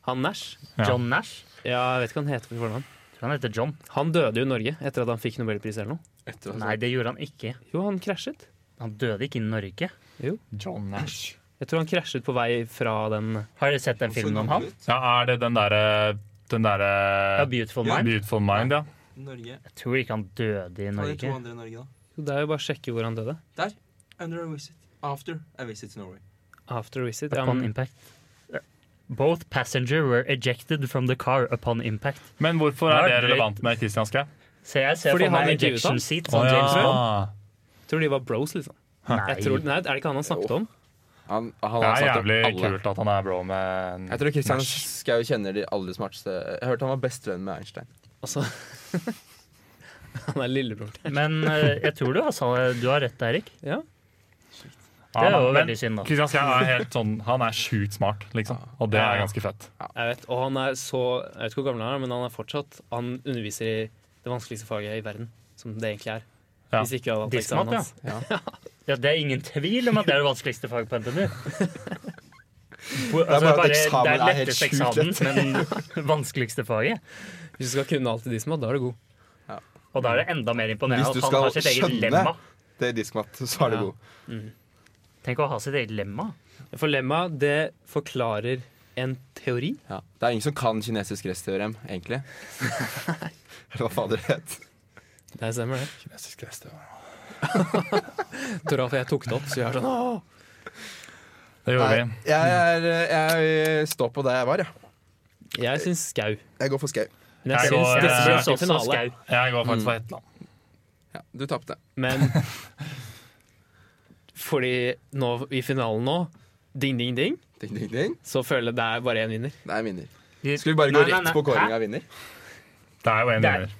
C: Han Nash.
E: Ja.
D: John Nash.
C: Ja, jeg vet ikke hva han heter på fornavn.
D: Tror han heter John.
C: Han døde jo i Norge etter at han fikk nobelpris eller noe.
D: Nei, det gjorde han ikke.
C: Jo, han krasjet.
D: Han døde ikke i Norge.
E: John Nash.
C: Jeg tror han krasjet på vei fra den
D: Har dere sett den filmen om ham?
E: Ja, er det den derre den der,
D: Ja, Beautiful Mind.
E: Beautiful Mind, ja.
F: Norge.
D: Jeg tror ikke han døde i
F: Hva er de to
D: Norge.
F: andre i Norge, da?
C: Jo, det er jo bare å sjekke hvor han døde.
F: Under a visit. After a visit to Norway.
C: After visit. Ja,
D: Upon
C: men,
D: impact. Both passenger were ejected from the car upon impact.
E: Men hvorfor
D: Ja,
E: er det
D: det-
E: relevant med Christian Skau?
D: Så jeg ser
C: Fordi
D: for
C: han
D: meg
C: intervjuet
D: ejection
C: han?
D: seat som James Bond.
E: ja.
C: tror de var bros, liksom.
D: Nei.
C: Jeg tror, nei, er det ikke han han snakket om?
B: Han, han
E: Det
B: har
E: er
B: sagt om
E: jævlig
B: alle.
E: kult at han er bro med
B: Jeg tror Kristian
E: Nash.
B: Skau kjenner de aller smarteste Jeg hørte han var bestevenn med Einstein.
C: Altså Han er lillebror til
D: Men eh, jeg tror du, altså, du har rett, Eirik.
C: Ja.
D: Det er
E: Ja,
D: jo
E: men-
D: veldig synd, da.
E: Kristian Skjær er helt sånn, han er sjukt smart, liksom. Og det
C: Ja,
E: er
C: ja.
E: ganske fett.
C: Jeg vet, og han er så Jeg vet ikke hvor gammel han er, men han er fortsatt Han underviser i det vanskeligste faget i verden, som det egentlig er.
E: Ja.
C: Hvis ikke jeg hadde hatt
D: Diskmat,
C: eksamen
D: ja.
C: hans.
D: ja. Det er ingen tvil om at det er det vanskeligste faget på NTNU. Hvor-
B: bare
D: Altså,
B: at
D: bare, det
B: eksamen
D: er
B: er helt
D: letteste
B: sjukt
D: eksamen, men vanskeligste faget.
C: Hvis du skal kunne alt i diskmat, da er du god.
D: Og da er det enda mer imponerende
B: Hvis du
D: at han har
B: skal
D: sitt eget
B: skjønne.
D: lemma.
B: Det er diskmat, så er du
C: Ja.
B: god.
D: Tenk å ha sitt eget lemma.
C: For lemma, det forklarer en teori.
B: Ja. Det er ingen som kan kinesisk restteorem, egentlig. Eller hva fader det het.
C: Det stemmer, det. Toralf og jeg tok det opp, så vi er sånn Åh!
E: Det gjorde vi.
B: Nei, Jeg, er, jeg står på der jeg var, jeg.
C: Jeg syns Skau.
B: Jeg går for Skau.
C: Men jeg
E: Jeg
C: syns
E: går-
C: det
E: jeg
C: blir
E: syns
C: også finale.
D: Skau.
E: Jeg går faktisk for Hetland.
B: Ja, du tapte.
C: Men fordi nå i finalen nå, ding, ding, ding,
B: Ding, ding, ding.
C: så føler jeg det er bare én vinner.
B: Det er vinner. Skal vi bare gå rett på kåring av vinner?
E: Det er jo en
D: Det er-
E: vinner.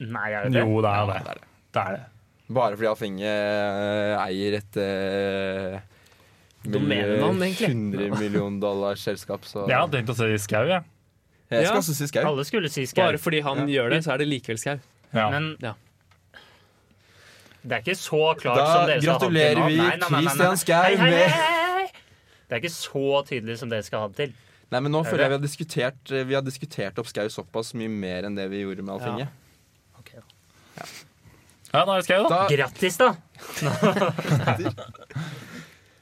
D: Nei, er det det?
E: Jo, det er jo
B: det
E: det.
B: er det.
E: Det er det.
B: Bare fordi Alfinge eh, eier et eh,
C: Domenenavn, egentlig.
B: 100 million dollars selskap, så
E: Jeg hadde tenkt å si Skau, jeg.
B: Jeg
C: Ja.
B: skal også si Skau.
D: Alle skulle si Skau.
C: Bare fordi han gjør det, så er det likevel Skau.
E: Ja.
D: Men
C: Ja.
D: Det er ikke så klart
B: Da
D: som dere skal ha det til.
B: gratulerer
D: nå.
B: vi
D: Nei, nei, nei, nei, nei.
B: Christian
D: Hei,
B: Skau
D: hei, hei,
B: med
D: hei, hei. Det er ikke så tydelig som dere skal ha det til.
B: Nei, men nå
D: Er
B: føler jeg vi
D: det?
B: har diskutert eh, Vi har diskutert opp Skau såpass mye mer enn det vi gjorde med Alfinge.
D: Ok, da.
E: Ja, da er det Skau, da.
B: Da,
D: Grattis, da!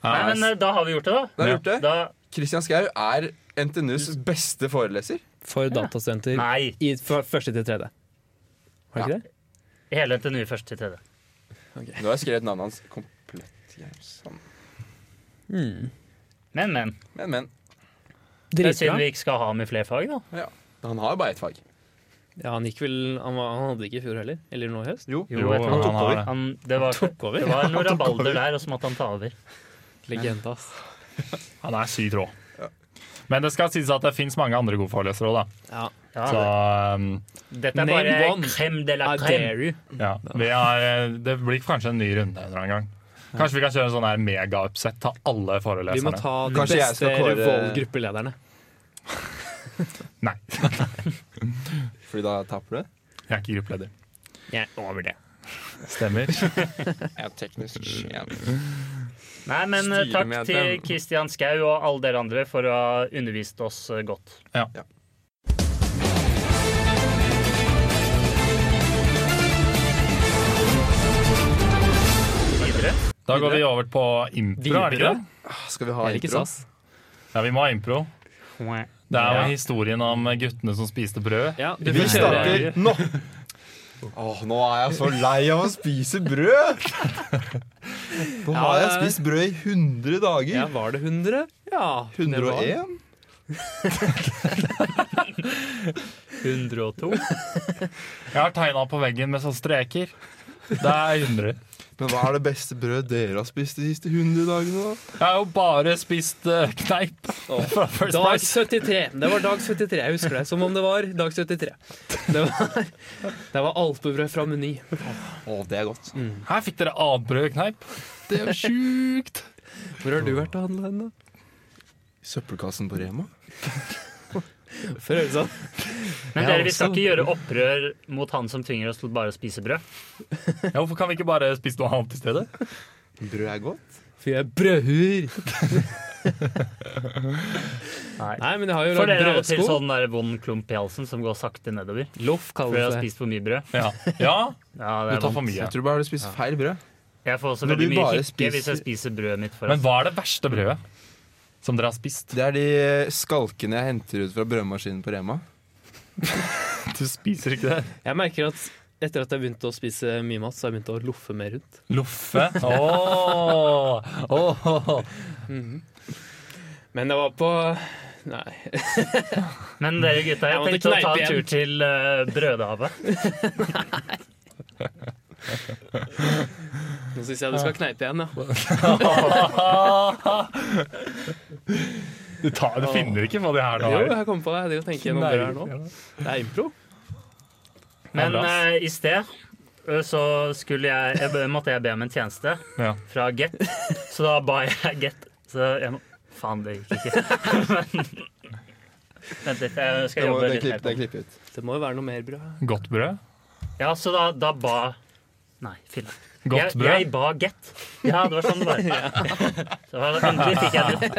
D: Nei, men eh, da har vi gjort det, da.
B: da har vi gjort det.
D: da
B: Christian Skau er NTNUs beste foreleser.
C: For datastudenter
D: nei.
C: i fra første til tredje. Var det ikke det?
D: Hele NTNU først til tredje.
B: Nå har jeg skrevet navnet hans komplett. Sånn.
C: Mm.
D: Men, men.
B: Men, men.
D: Det er synd
C: Dritbra.
D: vi ikke skal ha med flere fag, da.
B: Han har jo bare ett fag.
G: Ja, han gikk vel Han, var, han hadde det ikke i fjor heller. Eller nå i høst.
B: Jo.
D: Jo,
E: Jo,
D: vet du, han,
E: han
D: tok
E: har
D: over.
E: det.
D: Han, det, var,
G: Tok over?
D: det var noe rabalder der, og så måtte han ta over.
G: Legende, ass.
E: Han er sykt rå. Men det skal sies at det fins mange andre gode forelesere òg, da.
C: Ja.
D: Ja,
E: Så um,
D: dette er
C: Name one.
D: bare crème de la
C: I
D: crème.
C: dare you.
E: ja. Vi har, eh, det blir kanskje en ny runde en eller annen gang. Kanskje vi kan kjøre en sånn her mega-upset. Ta
C: Vi
E: alle
C: må
E: foreleserne.
C: ta de
B: Kanskje jeg
C: beste
B: skal kåre-
C: Revolve-gruppelederne.
E: Nei,
B: Fordi da taper du.
E: jeg er ikke gruppeleder.
C: Jeg er over det.
E: Stemmer.
B: Jeg er teknisk sjef.
D: Nei, men eh, takk
B: Styremedlem.
D: til Kristian Skau og alle dere andre for å ha undervist oss eh, godt. Videre.
E: Da går vi over på impro, er det ikke det?
B: Skal vi ha
C: Jeg liker
B: intro?
C: SAS.
E: Ja, vi må ha impro. Det er
D: Ja.
E: jo historien om guttene som spiste brød.
C: Ja, du
B: Vi
C: får kjøre.
B: starter nå! Åh, nå er jeg så lei av å spise brød! Nå har jeg spist brød i 100
C: Ja,
B: dager.
C: var det 100? Ja. det var-
B: 101?
D: 102.
E: Jeg har tegna på veggen med sånne streker. Det er 100.
B: Men hva er det beste brødet dere har spist de siste 100 dagene, da?
E: Jeg har jo bare spist eh, kneip fra First
C: Dag
E: Price.
C: 73. Det var dag 73. Jeg husker det som om det var dag 73. Det var, det var alpebrød fra Meny.
B: Å, det er godt.
E: Her fikk dere avbrød kneip. Det er jo sjukt!
C: Hvor har du vært og handla hen, da?
B: Søppelkassen på Rema?
C: For Ølsand.
D: Men
C: Jeg
D: dere, vi skal
C: også.
D: ikke gjøre opprør mot han som tvinger oss til bare å spise brød.
E: Ja, hvorfor kan vi ikke bare spise noe annet i stedet?
B: Brød er godt.
C: For jeg er brødhur. Nei, men jeg har jo
D: For
C: lagd
D: dere av og til
C: brødsko.
D: sånn der vond klump i halsen som går sakte nedover.
C: Loff
D: For dere
C: kalles
D: har
C: det.
D: spist for mye brød.
E: Ja, ja
D: Ja,
E: du
D: det er
E: tar for
D: vondt.
E: mye.
B: Jeg tror bare du spiser feil brød.
D: Jeg får også
B: Når
D: veldig
B: du
D: mye
B: bare
D: hikke hvis jeg
B: spiser-
D: spiser brødet mitt
E: Men
D: foran.
E: hva er det verste brødet som dere har spist?
B: Det er de skalkene jeg henter ut fra brødmaskinen på Rema.
E: Du spiser ikke det.
C: Jeg merker at etter at jeg begynte å spise mye mat, så har jeg begynt å loffe mer rundt.
E: Loffe. Ååå.
C: Men det var på Nei.
D: Men dere gutta, jeg
C: Jeg måtte
D: tenkte å ta
C: kneipe
D: en
C: igjen.
D: tur til eh, Brødhavet.
C: Nå syns jeg du skal kneipe igjen, ja.
E: Du, tar, du finner ikke på det her
C: Jo,
E: nå.
C: jeg kom på det. Jeg driver og tenker gjennom det her nå. Det er impro.
D: Men
E: Ja, bra.
D: eh, i sted eh, så skulle jeg, jeg be- måtte jeg be om en tjeneste
E: Ja.
D: fra Get, så da ba jeg Get. Så jeg må Faen, det gikk ikke. Men, vent litt, jeg skal
B: Det må-
D: jobbe
B: det
D: litt mer
B: klipp-
D: på
B: det
D: det.
B: klippet ut.
C: Det må jo være noe mer brød.
E: Godt brød.
D: Ja, så da, da ba Nei, filla.
E: Godt
D: jeg,
E: brød.
D: jeg ba Get. Ja, det var sånn det var. Så endelig fikk jeg det.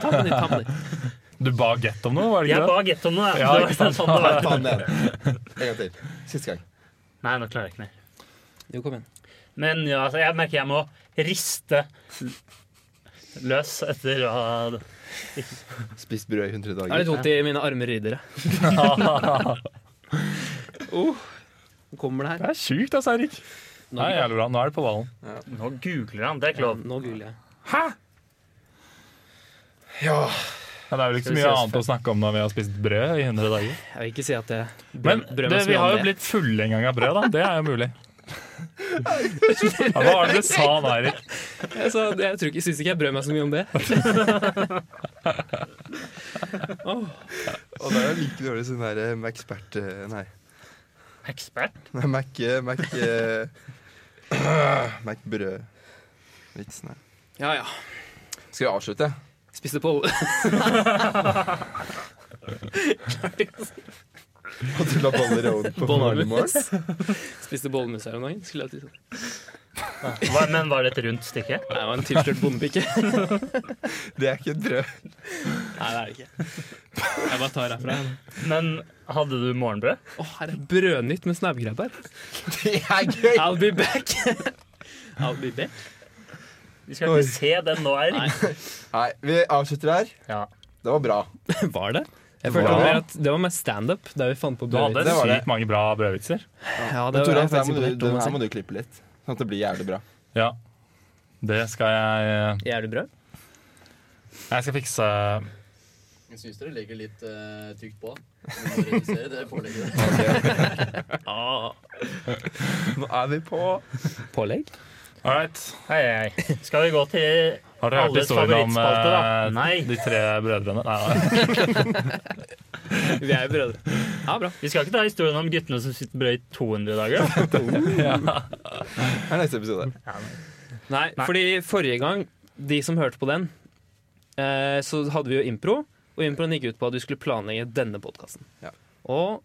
C: Ta på nytt, ta på nytt.
E: Du ba Get om noe, var det
D: Jeg
E: ikke det?
D: ba Get om noe.
E: Ja,
D: Ja,
E: ikke
D: det var sånn det var.
B: Ta den igjen. En gang til. Siste gang.
D: Nei, nå klarer jeg ikke mer.
C: Jo, kom igjen.
D: Men ja, altså, jeg merker jeg må riste løs etter å ha
B: Spist brød i
C: Det
B: 100
C: er litt
B: dager.
C: vondt i mine arme riddere. oh, nå kommer det her.
E: Det er sjukt, altså, Eirik.
C: Nå,
E: Nei, jævlig bra. Nå er det på ballen.
D: Nå googler han, det er ikke lov.
C: nå googler jeg.
B: Ja.
E: Ja, det er vel ikke
D: Skal vi
E: så mye
D: ses
E: annet å snakke om når vi har spist brød i 100 dager.
C: Jeg vil ikke si at jeg
E: Men
C: brød med
E: det,
C: smør
E: vi har jo
C: om det.
E: blitt fulle en gang av brød, da. Det er jo mulig. Ja, hva var det du sa da, Eirik?
C: Jeg, sa, jeg tror ikke, syns ikke jeg brød meg så mye om det.
B: Og det er jo like dårlig som den der eh, Mac-spert Nei,
D: Ekspert.
B: Nei, Mac eh, Mac Mac-brød-vitsen her.
C: Ja, ja.
B: Skal vi avslutte?
C: Spiste på
B: Og du la boller i ovnen på
C: Bon Arme.
B: morgenmorgen?
C: Spiste bollemus her om dagen, skulle jeg til å si. sånn.
D: Hva, men var det et rundt stykke?
C: Nei, det var en tilslørt bondepike.
B: Det er ikke et brød.
C: Nei, det er det ikke. Jeg bare tar herfra.
D: Men hadde du morgenbrød?
C: Å, her er brødnytt med snabbgrabber.
B: Det er gøy!
C: I'll be back. I'll be back.
D: Vi skal ikke se den nå her.
B: Nei, vi avslutter her.
D: Ja.
B: Det var bra.
C: Var det? Jeg følte
B: Wow.
C: mer at Det var mest standup, der vi fant på
E: Du hadde
C: brødvits.
B: Det var det.
E: sykt mange bra brødvitser.
C: Ja,
B: Men
C: det var
B: Toralf,
C: jeg
B: her
C: faktisk
B: må, du,
C: imponert
B: den
C: over
B: her
C: meg
B: må
C: selv.
B: du klippe litt. Sånn at det blir jævlig bra.
E: Ja. Det skal jeg eh,
C: Gjør du brød?
E: Jeg skal fikse
H: Jeg syns dere legger litt eh, tykt på. Dere må redusere det pålegget.
B: Nå er vi på
C: Pålegg?
E: All right.
D: Hei, hei. Skal vi gå til
E: Har dere hørt
D: Alles
E: historien om
D: favorittspalte, da.
E: eh,
D: Nei.
E: de tre brødrene? Nei, nei.
C: Vi er jo brødre. Ja, bra.
D: Vi skal ikke ta historien om guttene som sitter brød i 200 dager.
B: Her er neste episode.
C: Nei,
D: Nei.
C: fordi forrige gang, de som hørte på den, eh, så hadde vi jo impro. Og improen gikk ut på at vi skulle planlegge denne podkasten.
B: Ja.
C: Og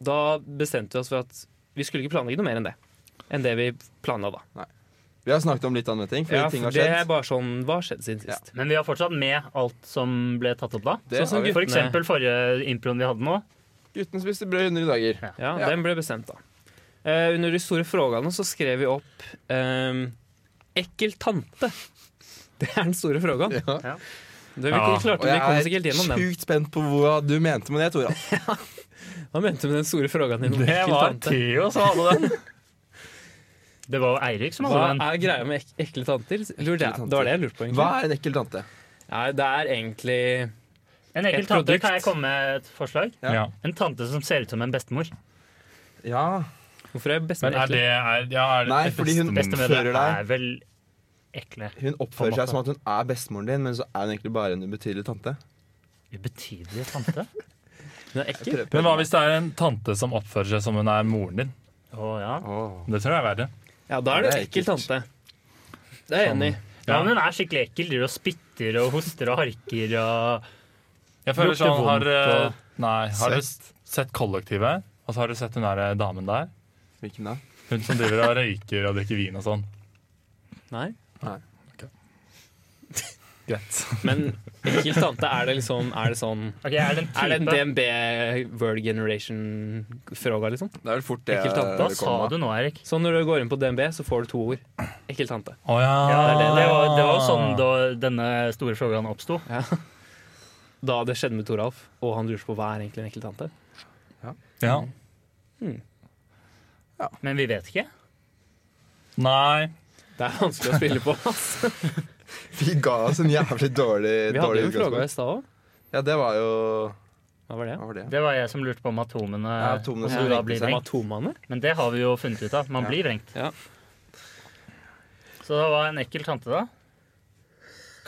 C: da bestemte vi oss for at vi skulle ikke planlegge noe mer enn det. Enn det vi planla da.
B: Vi har snakket om litt andre ting, fordi
C: Ja,
B: ting
C: for
B: har
C: det er
B: skjedd.
C: bare sånn Hva har skjedd siden
B: Ja.
C: sist?
D: Men vi har fortsatt med alt som ble tatt opp da.
B: Det
C: sånn som
B: har vi.
C: gutt-
D: For eksempel forrige improen vi hadde nå.
B: Gutten spiste brød i 100 dager.
C: Ja,
B: Ja.
C: den ble bestemt, da. Eh, under de store frågene så skrev vi opp ehm, 'ekkel tante'. Det er den store frågan.
B: Ja.
C: Det vi
E: Ja,
C: ikke klarte,
B: Og
C: vi kom oss
B: jeg
C: ikke helt
B: er
C: gjennom den.
B: sjukt spent på hva du mente med det, Toralf.
C: Hva mente du med den store frågan din? om
E: Det
C: ekkel
E: var
C: tante?
E: Theo som hadde den.
D: Det var jo Eirik som hadde
C: Hva
D: den.
C: er greia med ek ekle tanter? Lurer jeg.
B: tanter.
C: Det var det jeg lurte på. egentlig
B: Hva er en ekkel tante?
C: Nei, Det er egentlig
D: En
C: Et
D: ekkel tante,
C: produkt.
D: kan jeg komme med et forslag?
B: Ja.
E: Ja.
D: En tante som ser ut som en bestemor.
B: Ja,
C: Hvorfor er jeg best
E: Men
C: med
E: er det
C: ekle?
E: er, ja, er det
B: Nei, fordi hun-
E: bestemor?
D: Bestemødre
B: Fører deg.
D: er vel
B: Hun
D: ekle. På en
B: oppfører
D: måte.
B: seg som at hun er bestemoren din, men så er hun egentlig bare en ubetydelig tante.
D: Ubetydelige tante?
C: Hun er ekkel?
E: Men hva hvis det er en tante som oppfører seg som hun er moren din?
D: Å ja.
B: Åh.
E: Det tror jeg er verre.
C: Ja, da er det
B: Det er
C: ekkel
B: ekkelt. Sånn.
C: tante. Det er jeg enig i.
D: ja, men hun er skikkelig ekkel. Driver og spytter og hoster og harker og
E: Jeg føler
D: Lukter
E: sånn har,
D: vondt og-
E: eh, Nei, har du s- sett Kollektivet? Og så har du sett den der eh, damen der?
B: Hvilken da?
E: Hun som driver og røyker og drikker vin og sånn.
C: Nei.
E: Greit.
C: Men ekkel tante, er det liksom Er det sånn
D: Ok, Er det en
C: Er det en
D: type?
C: DNB World Generation-fråga, liksom?
B: Det er vel fort det
C: Ekkel tante,
B: eh,
D: Hva
B: det
D: sa
B: kommer av.
D: du nå, Erik?
C: Så når du går inn på DNB, så får du to ord. Ekkel tante.
E: Å ja.
D: Ja, det, det, var, det var
C: Ah.
D: sånn da denne store frågan oppsto.
C: Da det skjedde med Toralf, og han lurte på hva er egentlig en ekkel tante.
E: Ja.
D: Men vi vet ikke.
E: Nei.
C: Det er vanskelig å spille på. ass.
B: Vi ga oss en jævlig dårlig,
C: Vi hadde
B: dårlig
C: jo fråga i
B: utgangspunkt.
C: stad òg.
B: Ja, det var jo
C: Hva var det?
B: Hva var det?
D: Det var jeg som lurte på om atomene,
B: Ja, atomene som
D: om du da
B: vrengte
D: blir
B: seg.
D: vrengt.
C: Atomane?
D: Men det har vi jo funnet ut av. Man
B: Ja.
D: blir vrengt.
C: Ja.
D: Så det var en ekkel tante, da.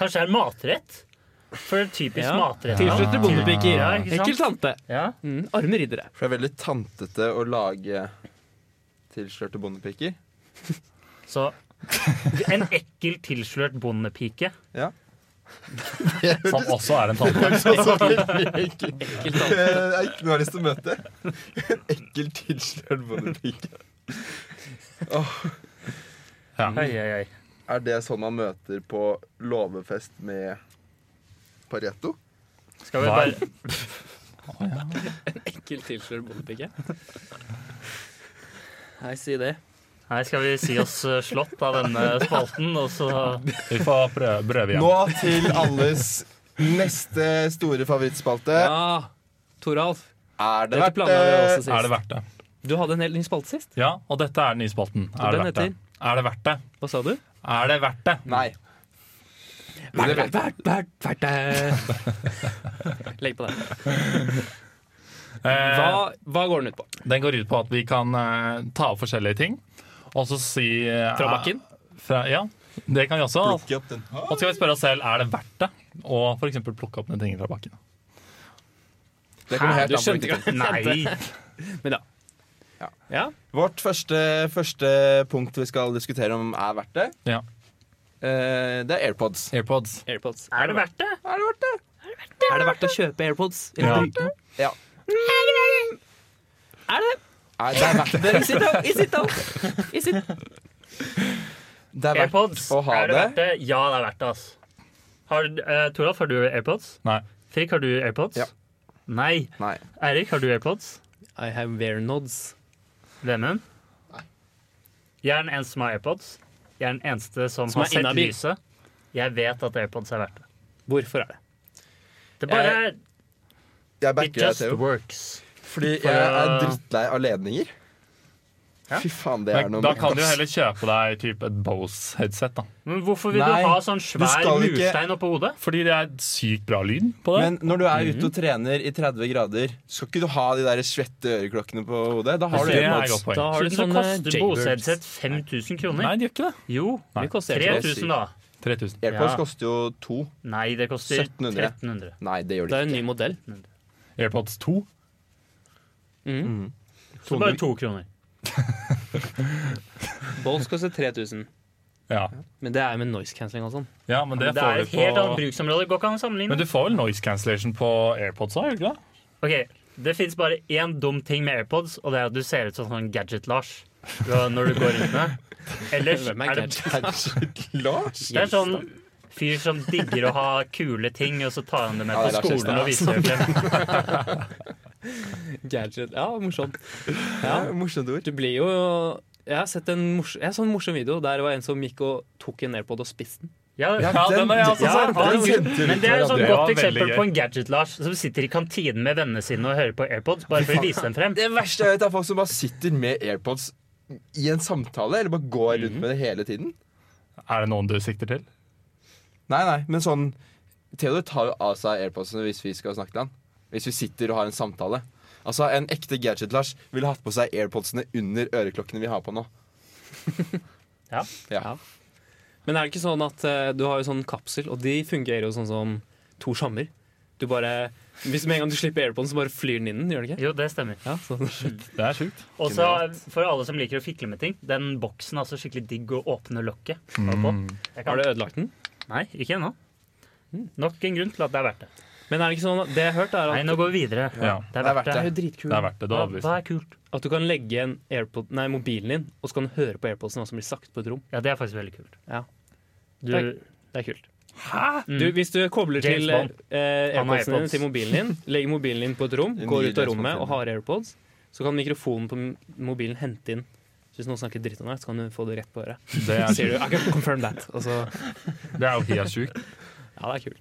D: Kanskje det er matrett? For det er typisk
C: Ja.
D: matrett. da.
C: Tilslutter bondepiker.
D: Ja, ikke sant?
C: Ekkel tante.
D: Ja.
C: Mm, arme riddere.
B: For det er veldig tantete å lage tilslørte bondepiker.
D: Så en ekkel, tilslørt bondepike.
E: Som også er en tante.
B: Altså,
C: Ekkel tante.
B: Jeg har lyst til å møte. Ekkel tilslørt bondepike.
E: Ja.
D: Oi, oi, oi.
B: Er det sånn man møter på låvefest med Pareto?
D: Skal vi
E: Hva?
D: bare
C: Ekkel tilslørt bondepike. Nei, si det.
D: Nei, skal vi si oss eh, slått av denne spalten, og så
E: Vi får prøve, prøve igjen.
B: Nå til alles neste store favorittspalte.
C: Ja, Toralf.
B: Er det
C: Dette
B: verdt eh,
C: planla vi også
B: det?
E: Er det
C: sist.
E: verdt det?
C: Du hadde en helt ny spalte sist.
E: Ja, og dette er den nye spalten. Er det
C: den
E: verdt det? Er det verdt det?
C: Hva sa du?
E: Er det verdt det?
B: Nei.
C: Vert, vert, vert, vert, vert, eh. Legg på det.
E: Eh,
C: Hva, hva går den ut på?
E: den går ut på at vi kan eh, ta opp forskjellige ting, og så si eh,
C: Fra bakken?
E: Fra, ja, det kan vi også.
B: Plukke opp den.
E: Og så skal vi spørre oss selv er det verdt det å for eksempel plukke opp noen ting fra bakken.
B: Det kommer
D: Hæ,
B: helt
C: du
B: an på
C: skjønte
B: hvilken.
D: Nei!
C: Men ja.
B: Ja.
C: ja.
B: Vårt første, første punkt vi skal diskutere om er verdt det,
E: Ja.
B: eh, det er AirPods.
E: AirPods.
C: AirPods.
D: Er det verdt det?
B: Er det verdt det?
C: Er det verdt å kjøpe AirPods? Eller
E: Ja.
C: bruke dem?
B: Ja.
C: Er det?
B: Nei, det er verdt det.
C: Is it though? Is it though? Is it?
B: Det er verdt
D: AirPods,
B: å ha
D: er det
B: det.
D: verdt det? Ja, det er verdt det, ass. Har, eh, Toralf, har du AirPods?
E: Nei.
D: Frik, har du AirPods?
B: Ja.
D: Nei.
B: Nei.
D: Eirik, har du AirPods?
C: I have wear nods.
D: Vemund? Jeg er den eneste som har AirPods. Jeg er den eneste som,
C: Som
D: har
C: er
D: sett
C: inhabil.
D: lyset. Jeg vet at AirPods er verdt det.
C: Hvorfor er det?
D: Det bare
B: Jeg
D: It
B: backer deg,
D: just
B: Theo.
D: works.
B: Fordi
D: for
B: jeg er
D: å-
B: drittlei av ledninger.
D: Ja.
B: Fy faen, det er
E: Men
B: noe
E: Da kan du jo
B: ass.
E: heller kjøpe deg typ et Bose-headset. da
D: Men hvorfor vil
B: Nei,
D: du ha sånn
B: du
D: svær
B: skal ikke-
D: murstein oppå hodet?
E: Fordi det er sykt bra lyd på det.
B: Men når du er ute og trener i 30 grader, skal ikke du ha de der svette øreklokkene på hodet? Da har du
E: det er et
B: AirPods.
E: godt poeng.
C: Da har du
D: Siden så
C: sånne
D: koster
C: Jaybirds.
D: Bose-headset 5000
E: Nei,
D: kroner.
E: det gjør ikke det.
D: Jo,
E: Nei.
C: Det koster helt
D: 3000 da.
E: 3000.
B: AirPods
D: Ja.
B: koster jo to.
D: Nei, det koster
B: 1700.
D: 1300.
B: Nei, det gjør
C: Det
B: de
C: er en
B: ikke.
C: ny modell.
E: AirPods 2.
D: Så bare to kroner.
C: Bose koster 3000,
E: Ja,
C: men det er med noise cancelling og sånn.
E: ja men det
D: Det
E: får
D: er
E: du
D: et helt annet
E: på
D: bruksområde. Går ikke an å
E: Men
D: sammenligne.
E: du får vel noise cancellation på AirPods òg, gjør du ikke det?
D: Ok, Det fins bare én dum ting med AirPods, og det er at du ser ut som sånn Gadget-Lars fra når du går rundt med. Ellers
C: Hvem er
D: er det,
B: Lars?
D: det er sånn fyr som digger å ha kule ting, og så tar han det med
B: Ja,
D: på
B: det er Lars altså.
D: skolen og viser det frem.
C: Gadget. Ja, morsomt.
B: Ja, morsomt ord.
C: Du blir jo Jeg har sett en, mors jeg så en morsom video der det var en som gikk og tok en AirPod og spiste den.
D: Ja,
E: Ja, den er jeg også
D: ja,
E: sett.
D: han- men det er et sånt
E: Det var
D: godt
E: veldig
D: eksempel
E: gøy.
D: på en Gadget-Lars som sitter i kantinen med vennene sine og hører på AirPods bare for å vise dem frem.
B: Det verste jeg vet, er folk som bare sitter med AirPods i en samtale, eller bare går rundt med det hele tiden.
E: Er det noen du sikter til?
B: Nei, nei, men sånn Theodor tar jo av seg AirPodsene hvis vi skal snakke til han. Hvis vi sitter og har en samtale. Altså, En ekte Gadget-Lars ville hatt på seg AirPodsene under øreklokkene vi har på nå.
D: Ja.
B: ja.
C: Men er det ikke sånn at eh, du har jo sånn kapsel, og de fungerer jo sånn som to sjammer? Du bare Hvis med en gang du slipper airpoden, så bare flyr den inn, gjør det ikke?
D: Jo, det stemmer.
C: Ja, sånn.
E: Det er sjukt.
D: Og så for alle som liker å fikle med ting, den boksen er altså skikkelig digg å åpne lokket
E: Mm.
D: på. Jeg
C: Har
D: kan,
C: du ødelagt den?
D: nei, ikke ennå. Nok en grunn til at det er verdt det.
C: Men er det ikke sånn at Det jeg har hørt, er
D: Mm. Nei,
C: at
D: nå går vi videre.
E: Ja,
D: Det er verdt det.
C: Det er jo dritkult.
E: det er verdt det. Du
D: Hva,
E: avviser.
D: hva er kult?
C: At du kan legge en AirPod, nei, mobilen din, og så kan du høre på AirPodsen hva som blir sagt på et rom.
D: Ja, det er faktisk veldig kult.
C: Ja.
D: Du,
C: Takk. Det er kult.
D: Mm.
C: Du, hvis du kobler til
D: James Bond.
C: eh,
D: Han har
C: AirPodsen din
D: AirPods.
C: til mobilen din, legger mobilen din på et rom,
B: Den
C: går
B: nye
C: ut av
B: James
C: rommet og
B: Bond-filmen.
C: har AirPods, så kan mikrofonen på m- mobilen hente inn så Hvis noen snakker dritt om deg, så kan du få det rett på øret.
E: Det
C: Så
E: er,
C: sier du
E: sjukt.
C: I can confirm that. Og så,
E: det er jo helt sjukt.
C: ja, det er kult.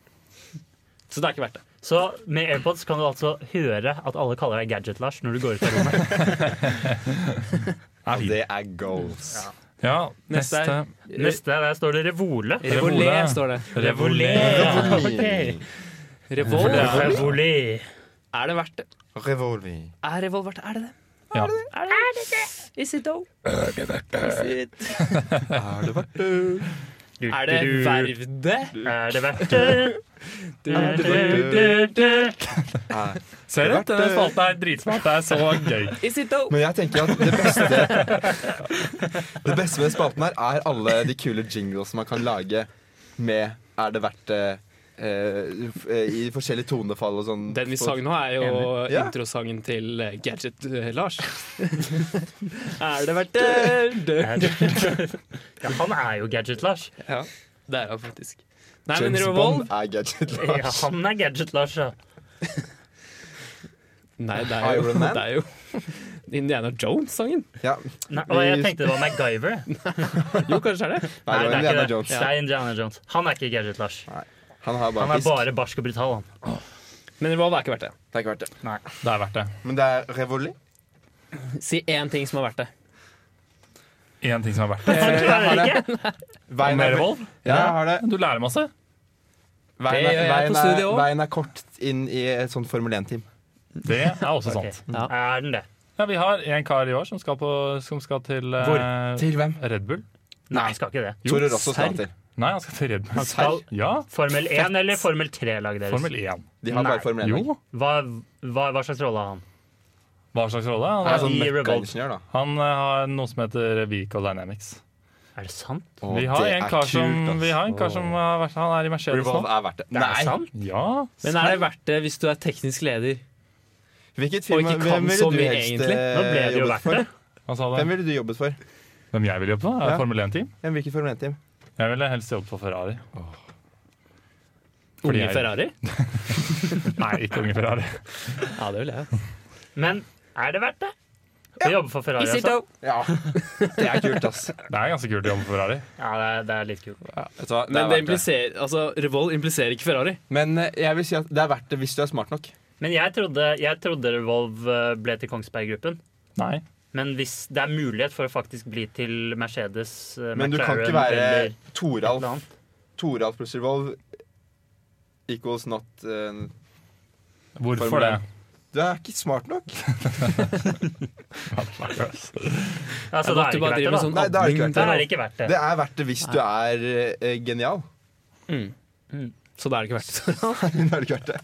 C: Så det er ikke verdt det.
D: så med AirPods kan du altså høre at alle kaller deg Gadget-Lars når du går ut av rommet.
E: Er
B: Og
E: fint.
B: det er goals.
E: Ja,
C: Neste
E: neste.
C: er-
D: Neste, der står det Revole.
C: Revolé, står det.
E: Revolé.
B: Revolving.
C: Revol.
D: Revole.
C: Er det verdt det?
B: Revolving.
C: Er revol verdt det? Er det det?
E: Ja.
C: Er det det? Is it though?
B: Er det verdt det?
C: Er det verv det?
D: Er det verdt det?
C: Du,
D: Er
C: du,
D: det
C: du,
D: verdt
C: du.
D: det?
E: Ser du? Denne spalten er dritsmart. Det er så gøy.
C: Is it though?
B: Men jeg tenker at det beste Det beste med spalten her er alle de kule jingles man kan lage med Er det verdt det? eh, f- eh, I forskjellige tonefall og sånn.
C: Den vi sang nå, er jo
B: Enig. Ja.
C: introsangen til eh, Gadget eh, Lars. er det verdt det? Dø.
D: Er det- Ja, han er jo Gadget-Lars.
C: Ja, det er jo faktisk. Nei, men
B: James
C: Revolve
B: Bond er gadget
D: Ja,
B: Lars.
D: han er Gadget-Lars, ja.
C: Nei, det er jo,
B: Iron Man?
C: det er jo Indiana Jones-sangen.
B: Ja.
D: Nei, og jeg tenkte det var MacGyver.
C: Jo, kanskje er det.
B: Nei, det var
D: ikke
B: Indiana
D: det.
B: Jones.
D: Det er Indiana Jones. Han er ikke Gadget-Lars.
B: Han har
D: Han
B: bare
D: er
B: fisk.
D: bare barsk og brutal, han.
C: Men Revolve er ikke verdt det.
B: Det er ikke verdt det.
E: Det er verdt det.
B: Men det er revolé.
C: Si én ting som er verdt det.
E: Én ting som er verdt det.
D: Klarer ikke?
B: Veien
E: Med
B: er,
E: revolv.
B: ja, jeg har det.
E: Du lærer masse.
B: Veien
C: Det
B: er,
C: gjør jeg på
B: veien er,
C: studiet også.
B: veien er kort inn i et sånt Formel 1-team.
E: Det er også
D: Ok.
E: sant.
C: Ja.
D: Er den det?
E: Ja, vi har en kar i år som skal, på, som skal til, eh,
D: Hvor?
B: Til hvem?
E: Red Bull.
D: Nei, jeg skal ikke det.
B: Tore Rosso skal til.
E: Nei, han skal til Red Bull.
D: Skal
E: Ja,
D: Formel 1 eller Formel 3-laget deres?
E: Formel 1.
B: De har bare
D: Nei.
B: Formel 1.
E: Jo.
D: Hva, hva, hva slags rolle har han?
E: Hva slags rolle?
B: Han er
E: Han,
B: sånn
D: I Revolt.
B: møkkaingeniør, da.
E: han eh, har noe som heter Vehicle Dynamics.
D: Er det sant?
B: Å,
E: Vi har
B: det
E: en
B: er
E: kar
B: kult,
E: som,
B: ass.
E: vi har en kar som har vært, han er i Mercedes nå.
B: Revolve er verdt det.
D: Det er sant?
E: Ja.
C: Men er det verdt det hvis du er teknisk leder?
B: Hvilket
C: Og
B: firma
C: ikke kan
B: hvem ville
C: så
B: du
C: mye
B: helst
C: egentlig.
B: eh,
D: Nå ble det jo
B: jobbet
D: verdt
B: for?
D: det.
E: Han sa
B: Hvem
E: det.
B: ville du jobbet for?
E: Hvem jeg vil jobbe på? Er
B: Ja.
E: det Formel 1-team?
B: Men Hvilket Formel 1-team?
E: Jeg ville helst jobbe på Ferrari. Fordi
C: Unge
E: jeg-
C: Ferrari?
E: Nei, ikke unge Ferrari.
C: Ja, det vil jeg.
D: Men er det verdt det? Å jobbe for Ferrari, altså?
B: Ja, det er kult, ass.
E: Det er ganske kult å jobbe på Ferrari.
D: Ja, det er, det er litt kult.
B: Vet du
C: Men
B: hva, det er
C: det
B: verdt det.
C: impliserer, altså, Revoll impliserer ikke Ferrari.
B: Men eh, jeg vil si at det er verdt det hvis du er smart nok.
D: Men jeg trodde, jeg trodde Revolve eh, ble til Kongsberg-gruppen.
E: Nei.
D: Men hvis det er mulighet for å faktisk bli til Mercedes, eh,
B: Men du kan
D: McLaren
B: ikke være
D: eller et
B: Toralf.
D: eller annet.
B: Toralf pluss Revolve equals not eh,
E: Hvorfor
B: Formel
E: det?
B: 1. Du er ikke smart nok.
D: Ja,
C: Jeg
D: så da
C: måtte
D: er det
C: bare drive med
D: ikke verdt det,
C: sånn
D: da.
B: Nei, det er det ikke
C: admin-
D: Da er det ikke verdt
B: Det
D: det.
B: er verdt det hvis du er eh, genial.
C: Mm.
D: Mm.
C: Så da er det ikke verdt det.
B: Nei, det er ikke verdt det.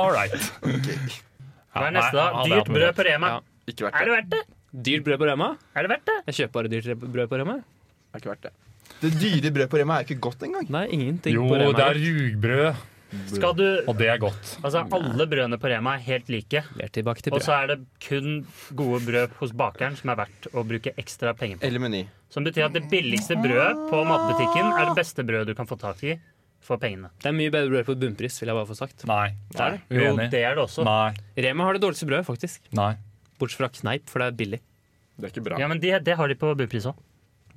E: All right.
D: Hva er neste, da?
E: Nei, ja, det er
D: Dyrt brød på Rema.
C: Ja.
B: Ikke verdt
D: Er
B: det.
D: det verdt det?
C: Dyrt brød på Rema?
D: Er det verdt det?
C: Jeg kjøper bare dyrt re- brød på Rema.
B: Det er ikke verdt det. Det dyre brødet på Rema er jo ikke godt engang.
C: Nei, ingenting
E: Jo,
C: på Rema.
E: det er rugbrød,
D: Skal du
E: og det er godt.
D: Altså, alle brødene på Rema er helt like.
C: Vi er tilbake til
D: Og
C: brød.
D: så er det kun gode brød hos bakeren som er verdt å bruke ekstra penger på.
B: Eller Meny.
D: Som betyr at det billigste brødet på matbutikken er det beste brødet du kan få tak i for pengene.
C: Det er mye bedre brød på bunnpris, vil jeg bare få sagt.
E: Nei.
D: Jo,
E: Uenig.
D: det er det også.
E: Nei.
C: Rema har det dårligste brødet, faktisk.
E: Nei.
C: Bortsett fra Kneip, for det er billig.
B: Det er ikke bra.
D: Ja, men det, det har de på bunnpris òg.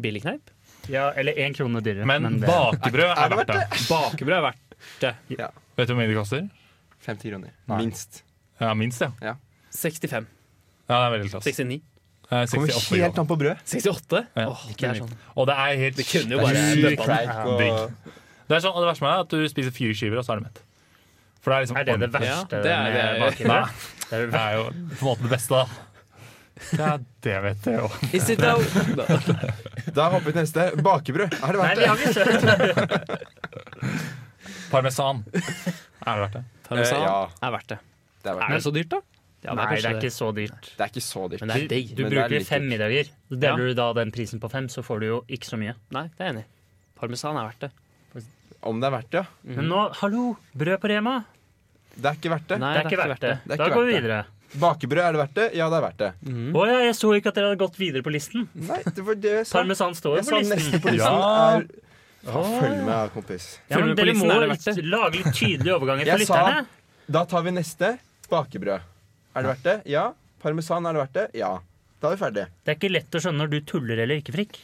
C: Billig Kneip?
D: Ja, eller én krone dyrere.
E: Men
D: det,
E: bakebrød
B: Er
E: er
B: det
E: verdt det.
C: Bakebrød er verdt
E: Vet du hvor mye det koster?
B: 50 kroner.
E: Nei.
B: Minst.
E: Ja, minst, ja.
C: 65.
E: Ja, det er veldig klasse.
C: 69.
E: Eh,
B: Kommer
E: 68
B: helt
E: kroner.
B: an på brød.
C: 68?
E: Ja.
C: Åh, det er sånn.
E: Og det er helt
C: Det kunne jo
E: det er
C: bare
E: sykt
C: bøtta
B: Preik og-
E: Digg. Det er sånn, og det verste med det er at du spiser fire skiver, og så er du mett. For det er liksom
D: er det det
E: ordentlig-
D: verste
C: det er
D: med
C: det.
E: Nei,
D: bakebrød? Det er
E: det
D: det-
E: er jo på en måte det beste, da. Ja, det vet jeg jo.
C: Is it though?
B: Da hopper vi til neste. Bakebrød. Er det
D: Nei,
B: verdt
D: vi
B: det?
D: har ikke kjøpt
E: Parmesan. Er det verdt det?
C: Parmesan
B: Eh, ja.
C: er verdt det.
B: Det er,
C: Er
B: verdt det.
C: det så dyrt, da? Ja,
D: Nei, det er
C: kanskje
D: ikke så dyrt.
B: det er ikke så dyrt.
C: Men det er digg.
D: Du
B: Men det er
D: bruker
B: litt
D: fem
B: dyrt.
D: middager. Så
C: Ja.
D: deler du da den prisen på fem, så får du jo ikke så mye.
C: Nei, det er jeg enig. i. Parmesan er verdt det.
B: Om det er verdt det, ja.
D: Men nå, hallo! Brød på Rema!
B: Det er ikke verdt det.
C: Nei,
D: Det er ikke verdt det.
B: Det er
D: Da
B: ikke
D: går vi
B: verdt
D: videre.
B: Bakebrød, er det verdt det? Ja, det er verdt det.
D: Å ja, jeg så ikke at dere hadde gått videre på listen.
B: Nei, det var det jeg sa.
D: Parmesan står
B: Jeg
D: jo på
B: sa neste
D: listen.
B: på listen
E: Ja.
B: er Følg med, kompis.
D: Ja, men
C: Følger vi på
D: dere
C: listen,
D: må
C: er det verdt det?
D: lage litt tydelige overganger for
B: Jeg sa-
D: lytterne.
B: Da tar vi neste. Bakebrød. Er det verdt det? Ja. Parmesan, er det verdt det? Ja. Da er vi ferdige.
D: Det er ikke lett å skjønne når du tuller eller ikke, Frikk.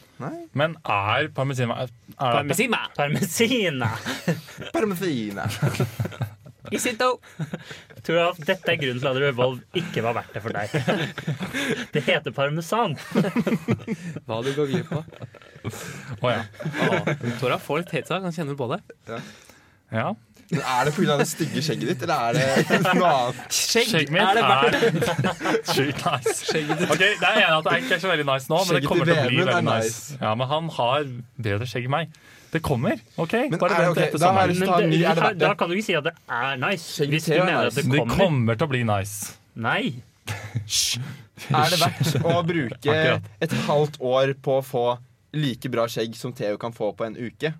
E: Men er parmesan er, er det verdt det?
C: Parmesima!
D: Parmesina!
B: Parmesan.
C: Is it though?
D: Jeg tror at dette er grunnen til at Revolve ikke var verdt det for deg. Det heter parmesan.
C: Hva du går glipp av.
E: Å, ja.
C: Tora får litt heta, kan kjenne på det.
E: ja.
B: Men Er det pga. det stygge skjegget ditt, eller er det noe annet?
E: Skjegget mitt er, sjukt nice. Ok, det er enig at det er ikke er så veldig nice nå, men
B: Skjegget
E: det kommer til å
B: til
E: bli
B: Vemund er
E: veldig nice. Ja, Men han har bedre skjegg enn meg. Det kommer, OK?
B: Men er det
E: Bare vent til
B: ok?
E: etter
B: Da har jeg
E: sommeren.
B: lyst
D: Men
B: til å ha en ny. Er det
D: det,
B: verdt
D: da
B: det?
D: kan du ikke si at det er nice, hvis du
B: Skjeggete er
D: mener at
B: nice.
D: det
E: Det
D: kommer.
E: kommer til å bli nice.
D: Nei.
B: Er det verdt å bruke
E: Akkurat.
B: et halvt år på å få like bra skjegg som Theo kan få på en uke?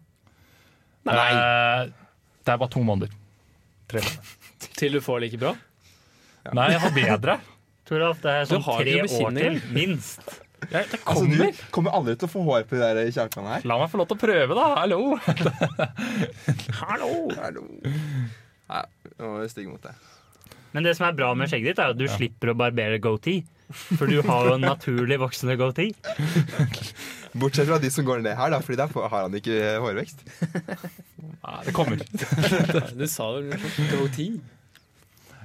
E: Eh, Det er bare to måneder. Tre måneder.
C: Til du får like bra.
E: Nei, jeg har bedre.
D: Toralf, det er
C: Du
D: sånn
C: har
D: tre
C: ikke
D: år til,
C: bekymringer.
D: minst.
E: Jeg, det
B: Altså,
E: kommer.
B: du kommer aldri til å få hår på de der kjakene her.
E: La meg få lov til å prøve, da. Hallo.
D: Hallo!
B: Hallo. Nei, nå er jeg stygg mot deg.
D: Men det som er bra med skjegget ditt, er at du slipper å barbere goatee. For du har jo en naturlig voksende goatee.
B: Bortsett fra de som går ned her, da, Fordi der får- har han ikke hårvekst.
E: Nei, det kommer.
C: Du sa jo goatee.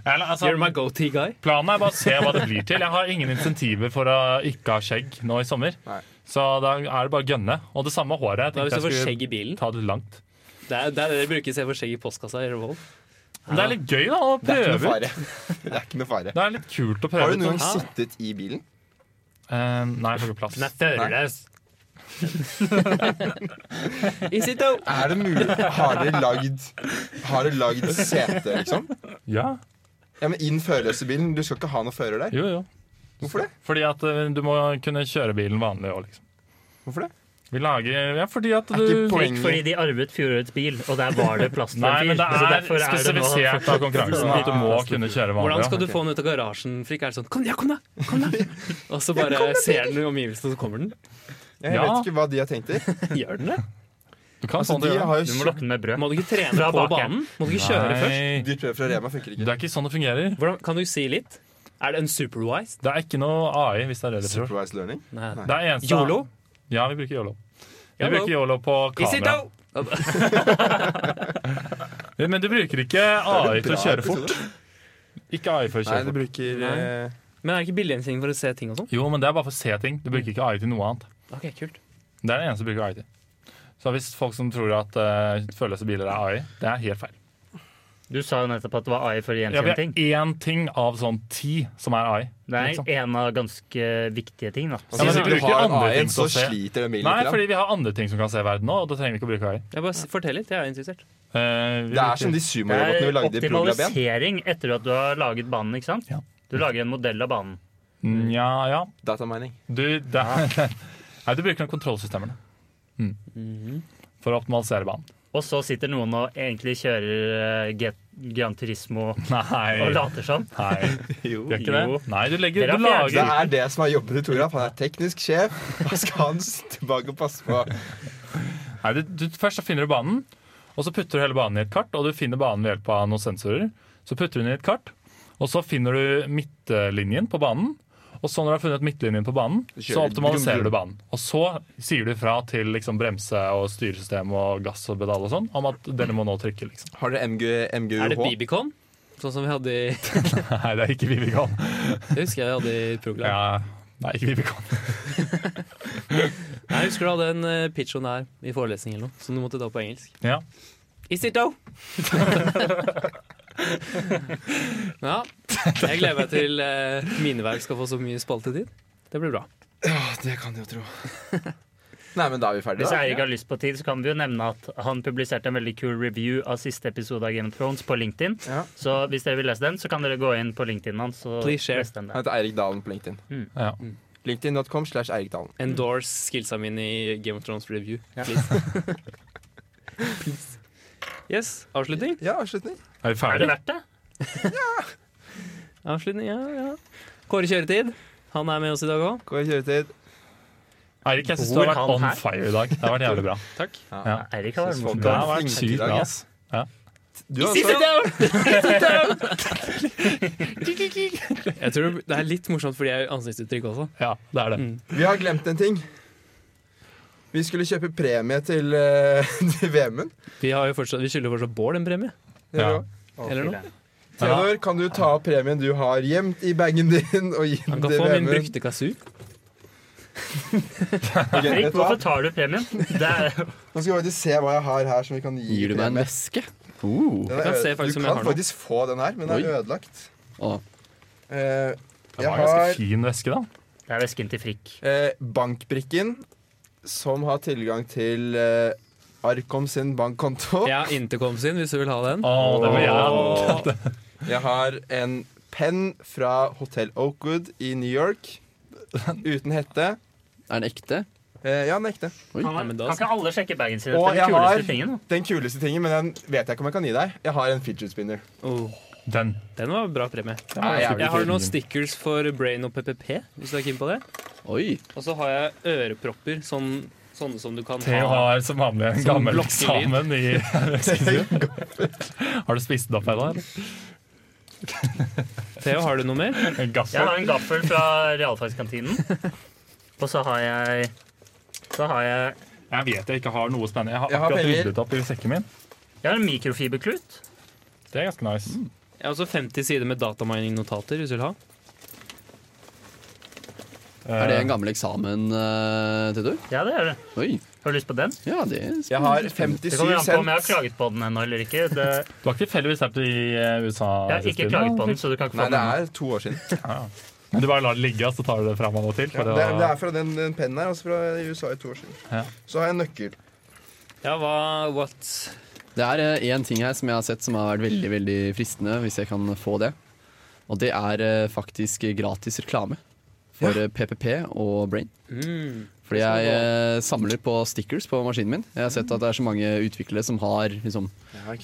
E: Jeg, altså,
C: You're my goatee guy.
E: planen er bare å se hva det blir til. Jeg har ingen insentiver for å ikke ha skjegg nå i sommer.
B: Nei.
E: Så da er det bare å gønne. Og det samme håret.
C: Da
E: Jeg
C: Hvis du
E: tenkte
C: får
E: jeg
C: skjegg
E: skulle
C: i bilen
E: ta det langt.
C: Det er det er det dere bruker istedenfor skjegg i postkassa i Revolve.
E: Men det er litt gøy, da. Å
B: Det er ikke noe
E: prøve ut.
B: fare. Det er ikke noe fare.
E: Det er litt kult å prøve
B: Har du
E: ut.
B: noen gang
E: da.
B: sittet i bilen?
E: Eh, nei, jeg får ikke plass.
D: Den er førerløs.
C: Is it though?
B: Er det mulig? Har dere lagd Har dere lagd sete, liksom?
E: Ja,
B: Ja, men I den førerløse bilen. Du skal ikke ha noe fører der.
E: jo, jo.
B: Hvorfor det?
E: Fordi at eh, du må kunne kjøre bilen vanlig òg, liksom.
B: Hvorfor det?
E: Vi lager Ja, fordi at
B: Er
E: du
B: ikke poenget-
D: Fordi de arvet fjorårets bil, og der var det plass til
E: Nei,
D: en
E: men
D: fyr.
E: det
D: så
E: er
D: derfor er det nå-
E: spesifisert av konkurransen at du må kunne kjøre vanlig.
C: Hvordan skal du få den ut av garasjen? For ikke er det sånn 'kom, ja, kom da', kom da. Og så bare ser den i omgivelsene, og så kommer den.
B: Jeg
E: Ja.
B: vet ikke hva de har tenkt til.
C: Gjør den det?
E: Du kan
B: Altså,
E: sånn
B: de
E: det gjør.
B: har jo
D: Du må
B: kjøpt
D: lokke den med brød.
C: Må du ikke trene
D: Fra
C: på
D: bakeren.
C: banen? Må du ikke kjøre først?
E: Nei,
B: dyrt brød fra Rema funker
E: Det
B: ikke.
E: er ikke sånn det fungerer.
C: Hvordan, kan du si litt? Er det en superwise?
E: Det er ikke noe AI, hvis det er det du tror.
B: Supervised learning.
C: Nei.
E: Det er eneste
C: Yolo?
E: Ja, vi bruker yolo. Vi
C: Yolo.
E: bruker yolo på
C: Is it
E: kamera.
C: out?
E: Men du bruker ikke AI til å kjøre fort. Ikke AI for å
B: Nei,
E: kjøre
B: de
E: fort.
B: bruker
C: Nei.
B: eh,
C: Men er det ikke billiggjensing for å se ting og sånn?
E: Jo, men det er bare for å se ting. Du
D: Mm.
E: bruker ikke AI til noe annet.
C: Ok, kult.
E: Det er det eneste du bruker AI til. Så hvis folk som tror at uh, føleløse biler er AI, det er helt feil.
D: Du sa jo nettopp at det var AI for å
E: Ja, vi
D: gjenkjenne
E: har
D: ting.
E: én ting av sånn ti som er AI.
D: Det
E: liksom.
D: er en av ganske viktige ting, da.
E: Ja, men
B: altså,
E: vi
B: Hvis du
E: bruker
B: har
E: andre ting
B: A1, så
E: til å se.
B: sliter den bilen
E: Nei,
B: litt. grann.
E: fordi vi har andre ting som kan se verden nå, og da trenger vi ikke å bruke AI.
C: Jeg bare s- Fortell litt, jeg er interessert.
E: Eh, vi
B: Det
E: bruker-
B: er som de
D: Det
B: sumorobotene vi
D: er
B: lagde i Prolab 1.
D: optimalisering etter at du har laget banen, ikke sant?
E: Ja.
D: Du lager en modell av banen.
E: Nja, Mm, ja.
B: Datamining.
E: Du, det er, nei, du bruker kontrollsystemene. Mm.
D: Mhm.
E: For å optimalisere banen.
D: Og så sitter noen og egentlig kjører eh, G- Gran Turismo og
E: Nei.
D: later som.
E: Nei,
B: Jo.
E: gjør ikke
D: Jo.
E: det. Nei, du legger
D: Dere
E: Du
D: har
B: Det
E: lager
B: er det som er jobben til Toraf. Han er teknisk sjef. Da skal han s- tilbake og passe på.
E: Nei, du, du, Først så finner du banen, og så putter du hele banen i et kart. Og du finner banen ved hjelp av noen sensorer. Så putter du den i et kart, og så finner du midtlinjen på banen. Og så når du har funnet midtlinjen på banen,
B: Du kjører
E: så optimaliserer
B: dum, dum.
E: du banen. Og så sier du fra til liksom bremse og styresystem og gass og pedal og sånn om at dere må nå trykke, liksom.
B: Har dere MG,
C: Er det
B: MGUH?
C: Bibicon? Sånn som vi hadde i
E: Nei, det er ikke Vivikan.
C: Det husker jeg jeg hadde i Proglam.
E: Ja, nei, ikke Vivikan.
C: Nei, Jeg husker du hadde en eh, pitchon her i forelesning eller noe, som du måtte ta på engelsk.
E: Ja.
C: Is it out? ja. Jeg gleder meg til eh, mineverk skal få så mye spaltetid. Det blir bra.
B: Det kan du jo tro. Nei, men da er vi ferdige.
D: Hvis
B: da.
D: Eirik har lyst på tid, så kan vi jo nevne at han publiserte en veldig kul review av siste episode av Game of Thrones på LinkedIn.
B: Ja.
D: Så hvis dere vil lese den, så kan dere gå inn på LinkedIn hans. og
C: Please share.
D: lese den
B: Han
D: der.
B: heter Eirik Dalen på LinkedIn. Mm.
E: ja.
B: LinkedIn.com slash Eirik Dalen.
C: Endorse skillsa mine i Game of Thrones review, please. Yes. Avslutning?
B: Ja, avslutning.
E: Er vi
D: Er det
E: ferdige?
D: verdt det?
C: Avslutning, ja, ja. Kåre Kjøretid. Han er med oss i dag òg.
B: Går i kjøretid.
E: Eirik, jeg syns du
D: Bor
E: har vært
D: han
E: on
D: her?
E: fire i dag. Det har vært jævlig bra.
C: Takk.
E: Ja.
D: Eirik har vært
B: Synes folk
D: morsom.
E: Det
B: er
E: har vært
B: flinke i
E: sykt
B: dag,
E: bra, ass.
B: ass.
C: Du
B: Du har
C: Is it
B: også
C: out? Jeg tror Det er litt morsomt fordi jeg har ansiktsuttrykk også.
E: Ja, det er det.
D: Mm.
B: Vi har glemt en ting. Vi skulle kjøpe premie til, eh, til VM-en.
C: Vi, har jo fortsatt, vi skylder jo fortsatt Bård en premie.
B: Dere
E: Ja.
B: også.
C: Eller noe.
B: Theodor, kan du ta premien du har gjemt i bagen din, og gi
C: Han
B: den
C: kan
B: til
C: få min
B: VM-en?
C: brukte kazoo.
B: Ok, vet
D: Eirik,
B: du hva?
D: hvorfor tar du premien? Det er,
B: Nå skal vi faktisk se hva jeg har her som vi kan gi
H: Gir du meg en
B: premie.
H: veske?
B: Den
C: Jeg
B: er
C: kan se
B: øde-
C: faktisk
B: Du
C: om jeg
B: kan
C: har noe.
B: faktisk få den her, men den er ødelagt.
H: Å.
B: Eh,
E: Det
B: jeg
E: var en
B: har
E: ganske fin veske, da.
D: det er vesken til Frikk.
B: eh, bankbrikken, som har tilgang til eh, Arkom sin bankkonto.
C: Jeg har Intercom sin, hvis du vil ha den.
E: Å, det var jævlig.
B: Og jeg har en penn fra Hotel Oakwood i New York. Uten hette.
H: Er den ekte?
B: Eh, ja, den er ekte.
D: Kan,
C: Ja, men da-
D: kan ikke alle sjekke bagen sin?
B: Og
D: Det
B: jeg
D: er den kuleste
B: har
D: tingen. da.
B: den kuleste tingen, men den vet jeg ikke om jeg kan gi deg. Jeg har en fidget spinner.
C: Åh,
E: Den.
C: den var en bra premie.
B: Den er jævlig
C: Jeg har
B: kul.
C: noen stickers for Brain og PPP, hvis du er keen på det.
H: Oi.
C: Og så har jeg ørepropper, sånn, sånne som du kan
E: Theo
C: ha.
E: har som vanlig en
C: Som
E: gammel
C: blokkelyd.
E: eksamen i veskesiden. Har du spist den opp ennå? eller?
C: Theo, har du noe mer?
E: En
D: Jeg
E: Gaffel?
D: har en gaffel fra realfagskantinen. Og så har jeg så har jeg,
E: Jeg vet jeg ikke har noe spennende. Jeg har
B: Jeg har
E: akkurat
B: penger.
E: ryddet opp i sekken min.
D: jeg har en mikrofiberklut.
E: Det er ganske nice.
B: Mm.
C: Jeg har også 50 sider med datamining-notater, hvis du vil ha.
H: Er det en gammel eksamen,
I: eh,
H: uh, Theodor?
D: Ja, det er det.
H: Oi.
D: Har du lyst på den?
H: Ja, det
B: Jeg har
D: Det
B: 57
D: kommer an på om jeg har
B: cent.
D: klaget på den ennå eller ikke. Det,
E: Du har ikke tilfeldigvis vært i eh, USA?
D: jeg har ikke
E: Kristin,
D: klaget
E: da?
D: på den, så du kan ikke
B: Nei,
D: få
B: det er
D: den.
B: to år siden.
E: Men Du bare lar det ligge, og så tar du det fram av og til?
B: Ja,
E: For
B: det, er, det
E: å,
B: er fra den, den pennen her, altså fra USA i to år siden.
E: Ja.
B: Så har jeg en nøkkel.
C: Ja, hva What?
H: Det er eh, en ting her som jeg har sett som har vært veldig veldig fristende, hvis jeg kan få det. Og det er eh, faktisk gratis reklame.
I: for eh, PPP og Brain.
B: Mm.
I: Fordi jeg eh, samler på stickers på maskinen min. Jeg har sett at det er så mange utviklere som har liksom,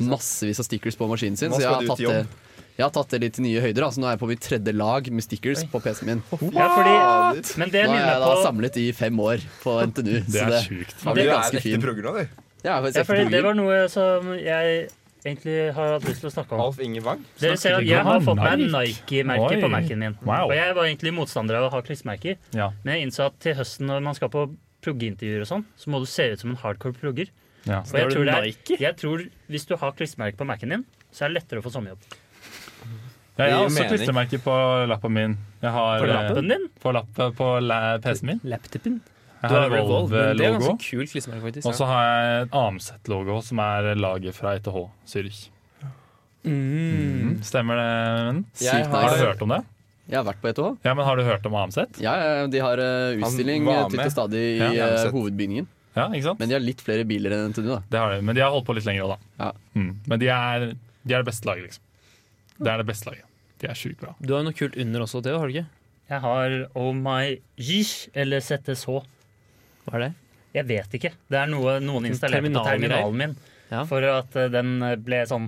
I: massevis av stickers på maskinen sin.
B: Nå
I: Så jeg
B: skal
I: har,
B: du
I: tatt
B: til
I: det, jeg har tatt det litt til nye høyder. Da. Så nå er jeg på mitt tredje lag med stickers på PC-en min. Nå
D: Ja, fordi, men det
I: er
D: minner
I: jeg
D: meg
I: da
D: på
I: samlet i fem år på NTNU.
E: Det
I: Så
E: er
I: det,
E: sjukt.
I: det
B: Du er
I: blir
B: en
I: ganske
B: ekte
I: fin.
B: progger nå, du.
I: Ja, jeg er
D: ja,
I: faktisk
D: fordi
I: ekte
D: Det
I: blogger.
D: var noe eh, som jeg egentlig har hatt lyst til å snakke om.
B: Alf Inge Wang.
D: Dere ser at
E: ikke
D: Jeg har
E: om
D: fått meg
E: Nike.
D: Nike-merke
E: Oi.
D: på Mac-en min.
E: Wow.
D: Og jeg var egentlig motstander av å ha klistremerker,
E: Ja.
D: men jeg innså at til høsten når man skal på proggeintervjuer og sånn, så må du se ut som en hardcore progger.
E: Ja.
D: Og jeg tror, det er, jeg tror hvis du har klistremerke på Mac-en din, så er det lettere å få sommerjobb.
E: Ja, jeg har
B: Det gir
E: også
B: mening.
E: klistremerke på lappen min. Jeg har,
D: På lappen din?
E: eh, På, lapp- på la- PC-en min.
A: Laptopen?
E: Jeg
A: Du
E: har
A: har Revolve, men det er
E: Revolve-logo.
A: ganske kult klistremerke, faktisk.
E: Og så har jeg en Amset-logo, som er laget fra ETH Zürich. Mm. Stemmer det, Vennen?
I: Jeg
E: Har du
I: har,
E: hørt om det?
I: jeg har vært på ETH.
E: Ja, men Har du hørt om Amset?
I: Ja, ja, de har eh, utstilling
B: var
I: eh, titt
B: med.
I: og stadig i
E: Ja,
B: jeg har
I: eh,
B: sett.
I: hovedbygningen.
E: Ja, ikke sant?
I: Men de har litt flere biler enn NTNU, da.
E: Det har de, men de har holdt på litt lenger òg, da.
I: Ja.
E: Mm. Men de er, de er det beste laget, liksom. Det er det beste laget. De er sjukt bra.
A: Du har jo noe kult under også, Theo, har du ikke?
D: Jeg har Oh My Jish eller ZSH.
A: Hva er det?
D: Jeg vet ikke. Det er noe noen installerte på
A: Terminalgreier.
D: terminalen min
A: Sånn Ja.
D: for at eh, den ble sånn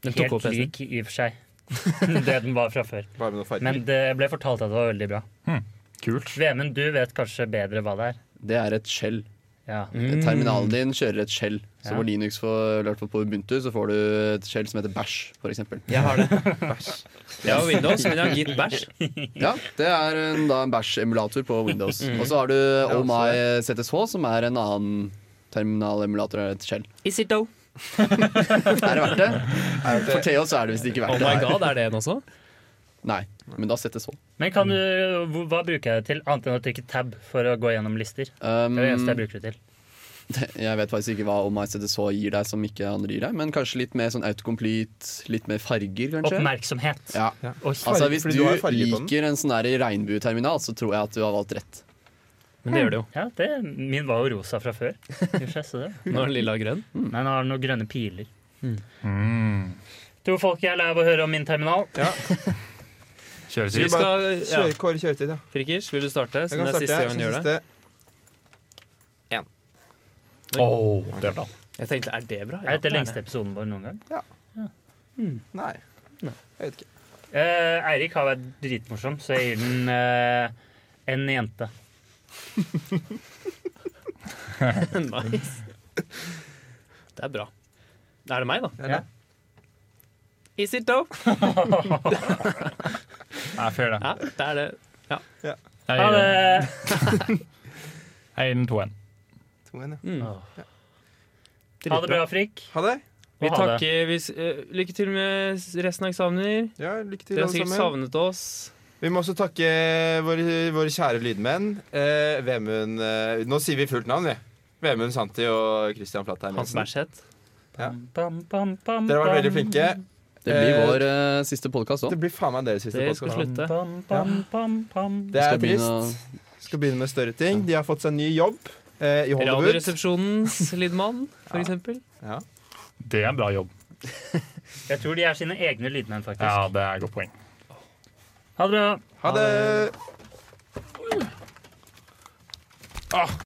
A: Den tok
D: helt
A: over PC-en.
D: lik i og for seg det den var fra før.
B: Bare med noen farger.
D: Men det ble fortalt at det var veldig bra.
E: Kult.
D: Vemund, du vet kanskje bedre hva det er.
I: Det er et skjell.
D: Ja.
A: Mm.
I: Terminalen din kjører et skjell. Så
D: Ja.
I: hvor Linux får lært på Ubuntu, så får du et skjell som heter Bash, f.eks.
A: Jeg har det. Jeg har Windows, men jeg har gitt bæsj.
I: Ja, det er en, da en Bash-emulator på Windows. Og så har du Oh My ZSH, som er en annen terminalemulator av et skjell.
A: Is it though?
I: Er det verdt det? For Theo så er det visst ikke
A: Oh
I: verdt
A: my
I: det.
A: god, er det en også?
I: Nei, men da ZSH.
D: Men kan du, hvor- hva bruker jeg det til, annet enn å trykke tab for å gå gjennom lister?
I: Um,
D: Det er det eneste jeg
A: Mm.
D: bruker det til.
I: Jeg vet faktisk ikke hva Oh My ZSH gir deg som ikke andre gir deg, men kanskje litt mer sånn autocomplete, litt mer farger, kanskje?
D: Oppmerksomhet.
I: Ja.
D: Og
I: Altså, hvis
B: fordi
I: du,
B: du har farger på den.
I: liker en sånn der regnbueterminal, så tror jeg at du har valgt rett.
A: Men det gjør det jo.
D: Ja, det, min var jo rosa fra før. I og for seg, så det.
A: Nå er den lilla og grønn.
D: Men den har noen grønne piler.
E: Mm.
D: Tror folk jeg er lei av å høre om min terminal.
E: Kjøres
A: Vi
E: ut.
A: skal, ja.
B: Kjøre, Kåre kjøretid, ja.
A: Frikkers, vil du starte?
B: Jeg
A: Siden det er
B: kan starte.
A: siste
B: jeg,
A: gang
B: som
A: du gjør det.
B: siste.
E: Åh, det er bra.
A: Jeg tenkte, er det bra? Ja,
D: Er dette
A: det er
D: lengste episoden vår noen gang?
B: Nei. Jeg vet ikke.
D: Eh, Eirik har vært dritmorsom, så jeg gir den eh, en jente.
A: det. nice. Det er bra. Er det meg, da?
D: Ja.
A: Is it though?
E: Jeg er fair, det.
A: Ja, det er det.
E: Jeg
D: Ha
E: gir den-
D: det!
E: jeg gir den 2-1.
B: To igjen, ja.
A: Mm.
D: Ha det bra, Frikk.
B: Ha det.
A: Vi
D: Og ha det.
A: takker vi, s- eh, Lykke til med s- resten av eksamener.
B: Ja, lykke til,
A: Dere har
B: alle
A: sikkert
B: sammen.
A: savnet oss.
B: Vi må også takke våre, våre kjære lydmenn. Eh, Vemund eh, Nå sier vi fullt navn, vi. Vemund Santi og Christian Flatheim
A: Hans
B: Jensen.
A: Bæsjhet.
D: Bam, bam, bam,
B: Dere har vært veldig
D: bam.
B: flinke.
I: Det blir
B: Eh,
I: vår eh, siste podkast òg.
B: Det blir faen meg deres siste
A: Det skal
B: podcast.
A: slutte.
D: Bam, bam, bam, bam.
B: Det er trist. Skal begynne med større ting. De har fått seg ny jobb eh, i Hollywood.
A: Radioresepsjonens lydmann, for eksempel.
B: Ja.
E: Det er en bra jobb.
D: Jeg tror de er sine egne lydmenn, faktisk.
E: Ja, det er et godt poeng.
D: Ha det bra.
B: Ha det! Ah,